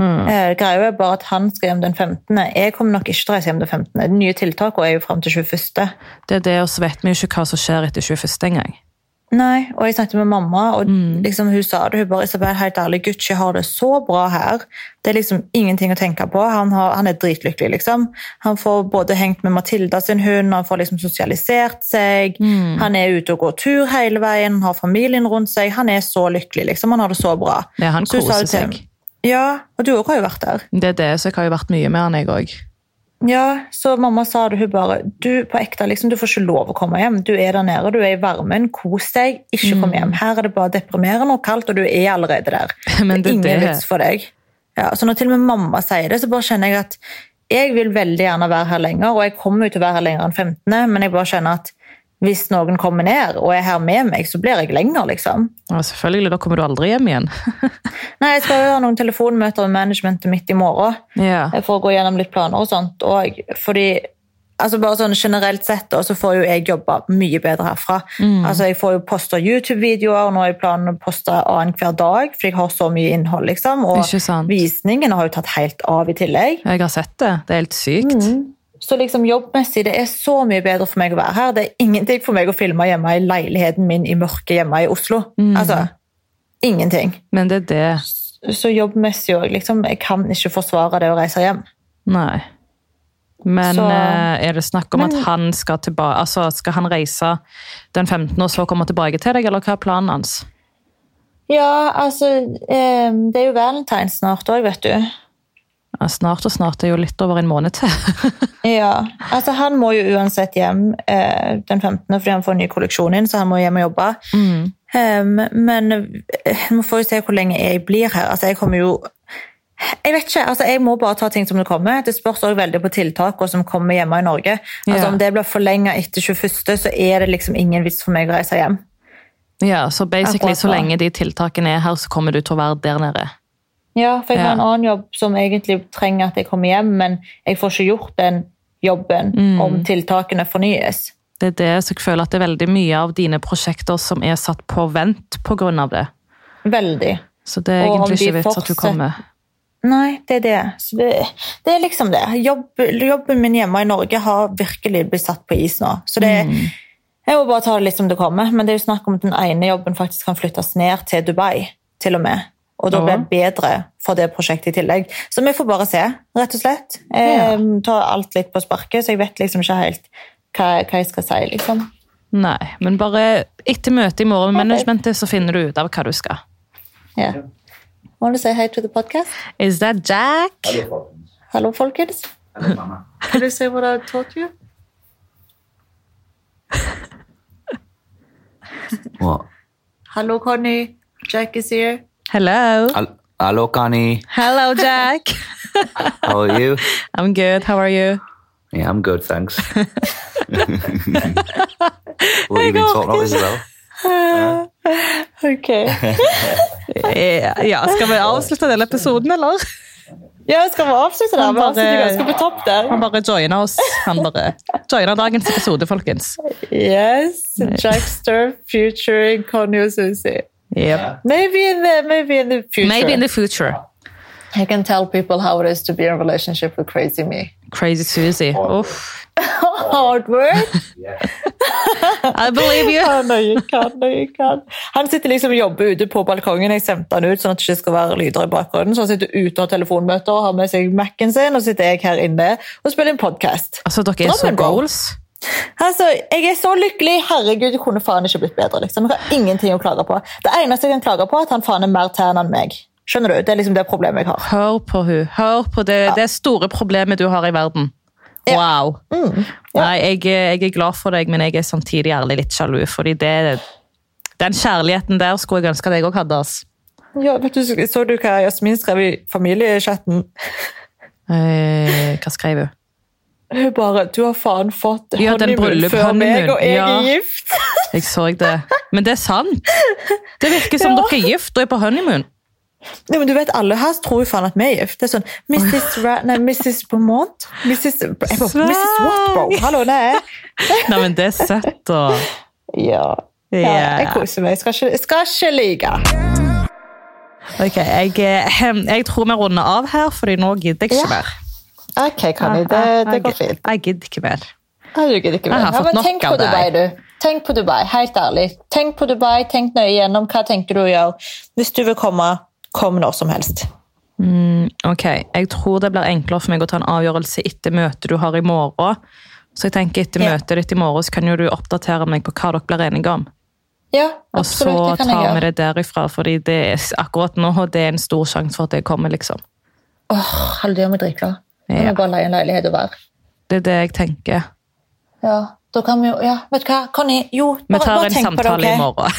Mm.
Eh, Greia er bare at han skal hjem den 15. Jeg kommer nok ikke til å reise hjem den 15. De nye tiltakene er jo fram til 21.
Det er det, og så vet vi jo ikke hva som skjer etter 21. engang.
Nei, og jeg snakket med mamma, og
Mm.
liksom hun sa det. Hun bare Isabel, helt ærlig, Gucci har det så bra her. Det er liksom ingenting å tenke på. Han, har, han er dritlykkelig, liksom. Han får både hengt med Matilda sin hund, han får liksom sosialisert seg.
Mm.
Han er ute og går tur hele veien, han har familien rundt seg. Han er så lykkelig, liksom. Han har det så bra.
Ja, han
Så hun sa
koser
det til
seg.
ham. Ja, og du òg har jo vært der.
Det er det, så jeg har jo vært mye med han, jeg òg.
Ja, så mamma sa det, hun bare Du på ekte, liksom, du får ikke lov å komme hjem. Du er der nede, du er i varmen, kos deg, ikke kom hjem. Her er det bare deprimerende og kaldt, og du er allerede der.
Men det er
ingen
det.
vits for deg. Ja, så når til og med mamma sier det, så bare kjenner jeg at jeg vil veldig gjerne være her lenger, og jeg kommer jo til å være her lenger enn 15., men jeg bare kjenner at hvis noen kommer ned og er her med meg, så blir jeg lenger, liksom.
Ja, selvfølgelig, da kommer du aldri hjem igjen. <laughs>
Nei, jeg skal jo ha noen telefonmøter med managementet mitt i morgen
ja.
for å gå gjennom litt planer og sånt. Og fordi altså bare sånn Generelt sett da, så får jo jeg jobbe mye bedre herfra.
Mm.
Altså Jeg får jo posta YouTube-videoer, og nå har jeg planen å poste annenhver dag, fordi jeg har så mye innhold. liksom,
Ikke sant.
Og visningene har jo tatt helt av i tillegg.
Jeg har sett det. Det er helt sykt.
Så liksom jobbmessig, det er så mye bedre for meg å være her. Det er ingenting for meg å filme hjemme i leiligheten min i mørket hjemme i Oslo.
Mm.
Altså, ingenting.
Men det er det.
Så jobbmessig òg, liksom. Jeg kan ikke forsvare det å reise hjem.
Nei. Men
Så-
eh, er det snakk om at han skal tilbake Altså, skal han reise den 15. og så komme tilbake til deg, eller hva er planen hans?
Ja, altså eh, Det er jo valentines snart òg, vet du.
Ja, snart og snart det er jo litt over en måned til. <laughs>
Ja, altså Han må jo uansett hjem eh, den 15. fordi han får en ny kolleksjon inn, så han må hjem og jobbe. Em, men eh, vi får jo se hvor lenge jeg blir her. Altså Jeg kommer jo Jeg vet ikke. altså Jeg må bare ta ting som det kommer. Det spørs også veldig på tiltakene som kommer hjemme i Norge. Altså
Ja.
Om det blir forlenga etter 21., så er det liksom ingen vits for meg å reise hjem.
ja, så basically
Akkurat
så
da.
lenge de tiltakene er her, så kommer du til å være der nede.
Ja, for jeg har
Ja.
en annen jobb som egentlig trenger at jeg kommer hjem, men jeg får ikke gjort den jobben om tiltakene fornyes.
Det er det så jeg føler at det er veldig mye av dine prosjekter som er satt på vent på grunn av det.
Veldig.
Så det er
Og om
egentlig
de
ikke vits at du
fortsetter-
kommer.
Nei, det er det. Så det, det er liksom det. Jobb, jobben min hjemme i Norge har virkelig blitt satt på is nå. Så det,
Mm.
jeg må bare ta det litt som det kommer. Men det er jo snakk om at den ene jobben faktisk kan flyttes ned til Dubai, til og med. Og da
Ja.
blir det bedre for det prosjektet i tillegg. Så vi får bare se, rett og slett.
Ja.
Eh, ta alt litt på sparket, så jeg vet liksom ikke helt hva, hva jeg skal si, liksom.
Nei, men bare etter møtet i morgen med managementet, så finner du ut av hva du skal.
Ja. Må du si hei to the podcast?
Is that Jack?
Hello, Falcons.
Hallo, folkens.
Hello, <laughs> Mama.
Can you say what I taught you?
What?
Hello, Connie. Jack is here.
Hello.
Hel- Hello, Connie.
Hello, Jack.
How are <laughs> you?
I'm good. How are you?
Yeah, I'm good, <laughs> thanks. what have you been talking about, Isabel?
Ok.
Eh, Ja, skal vi avslutte denne episoden, eller?
Ja, skal vi avslutte der?
Han
Vi
bare-
avslutter ganske på topp der.
Han bare joiner oss. Han bare joiner dagens episode, folkens.
Yes, Jackster featuring Conny og Susi. Maybe in the, maybe in the future.
Maybe in the future.
I can tell people how it is to be in a relationship with crazy me.
Crazy Susie. Uff.
Hard
<laughs>
work.
I believe you.
Han, og jeg kan, og jeg kan. han sitter liksom og jobber ute på balkongen. Jeg sendte han ut sånn at det ikke skal være lyder i bakgrunnen. Så han sitter ute av telefonmøter og har med seg Mac-en sin, og så sitter jeg her inne og spiller en podkast.
Altså, dere er så
Drømmen, bro.
goals.
Altså, jeg er så lykkelig. Herregud, jeg kunne faen ikke blitt bedre. liksom. Jeg har ingenting å klage på. Det eneste jeg kan klage på, er at han faen er mer tern enn meg. Skjønner du? Det er liksom det problemet jeg har.
Hør på hun. Hør på det, det store problemet du har i verden. Wow.
Mm.
Nei, jeg, er- jeg er glad for deg, men jeg er samtidig ærlig litt sjalu. fordi det, den kjærligheten der skulle jeg ønske at jeg òg hadde. ass.
Ja, vet du, Så du hva Jasmin skrev i familiechatten?
Eh, hva skrev hun?
Hun bare 'Du har faen fått
Ja, den
honeymoon
bryllup-
før meg, og jeg
honeymoon,
er
ja.
gift'.
Jeg så det. Men det er sant. Det virker som
Ja.
dere er gift og er på honeymoon.
Nei, men du vet, Alle her tror jo faen at vi er gift. Det er sånn Mrs. Ra nei, Mrs. Beaumont Mrs. Jeg bare, Mrs. What, bro? Hallo, nei.
Nei, men det er søtt, da.
Ja. ja.
Ja.
Jeg koser meg. Jeg skal ikke, jeg skal ikke lyve.
Ok, jeg, eh, jeg tror vi runder av her, fordi nå gidder jeg
Ja.
ikke mer.
OK, Kani. Det, det går fint.
Jeg gidder ikke mer.
Herregud, ikke mer.
Jeg har
Ja,
fått
men
nok
tenk
av
på
det
Dubai,
her.
du. Tenk på Dubai, helt ærlig. Tenk på Dubai, tenk nøye gjennom hva tenker du å gjøre. Hvis du vil komme, kom når som helst.
Ok, jeg tror det blir enklere for meg å ta en avgjørelse etter møtet du har i morgen. Så jeg tenker etter
Ja.
møtet ditt i morgen så kan jo du oppdatere meg på hva dere blir enige om.
Ja,
Og så
absolutt, det kan jeg
tar vi
gjøre.
det derifra, fordi det er akkurat nå det er en stor sjanse for at det kommer, liksom.
Åh, halv dør med drikklar. Vi
Ja.
må bare leie en leilighet og være.
Det er det jeg tenker.
Ja, da kan vi jo, ja, vet du hva, Conny, jo,
Vi
bare,
tar
bare
en
tenk på det,
samtale i
ok? <laughs>
morgen.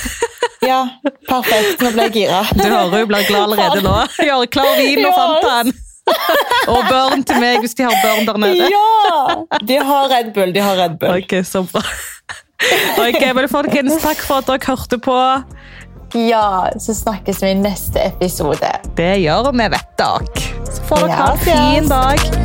Ja, perfekt, nå ble jeg gira.
<laughs> Du hører hun blir glad allerede nå. Gjør klar vin
<laughs>
og
Ja.
Fantaen. <laughs> Og børn til meg hvis de har børn der nede.
Ja, de har Red Bull, de har Red Bull.
Ok, så bra. <laughs> Ok, men folkens, takk for at dere hørte på.
Ja, så snakkes vi i neste episode.
Det gjør vi, vet dere. Så får dere ha en
Yes, yes.
fin dag.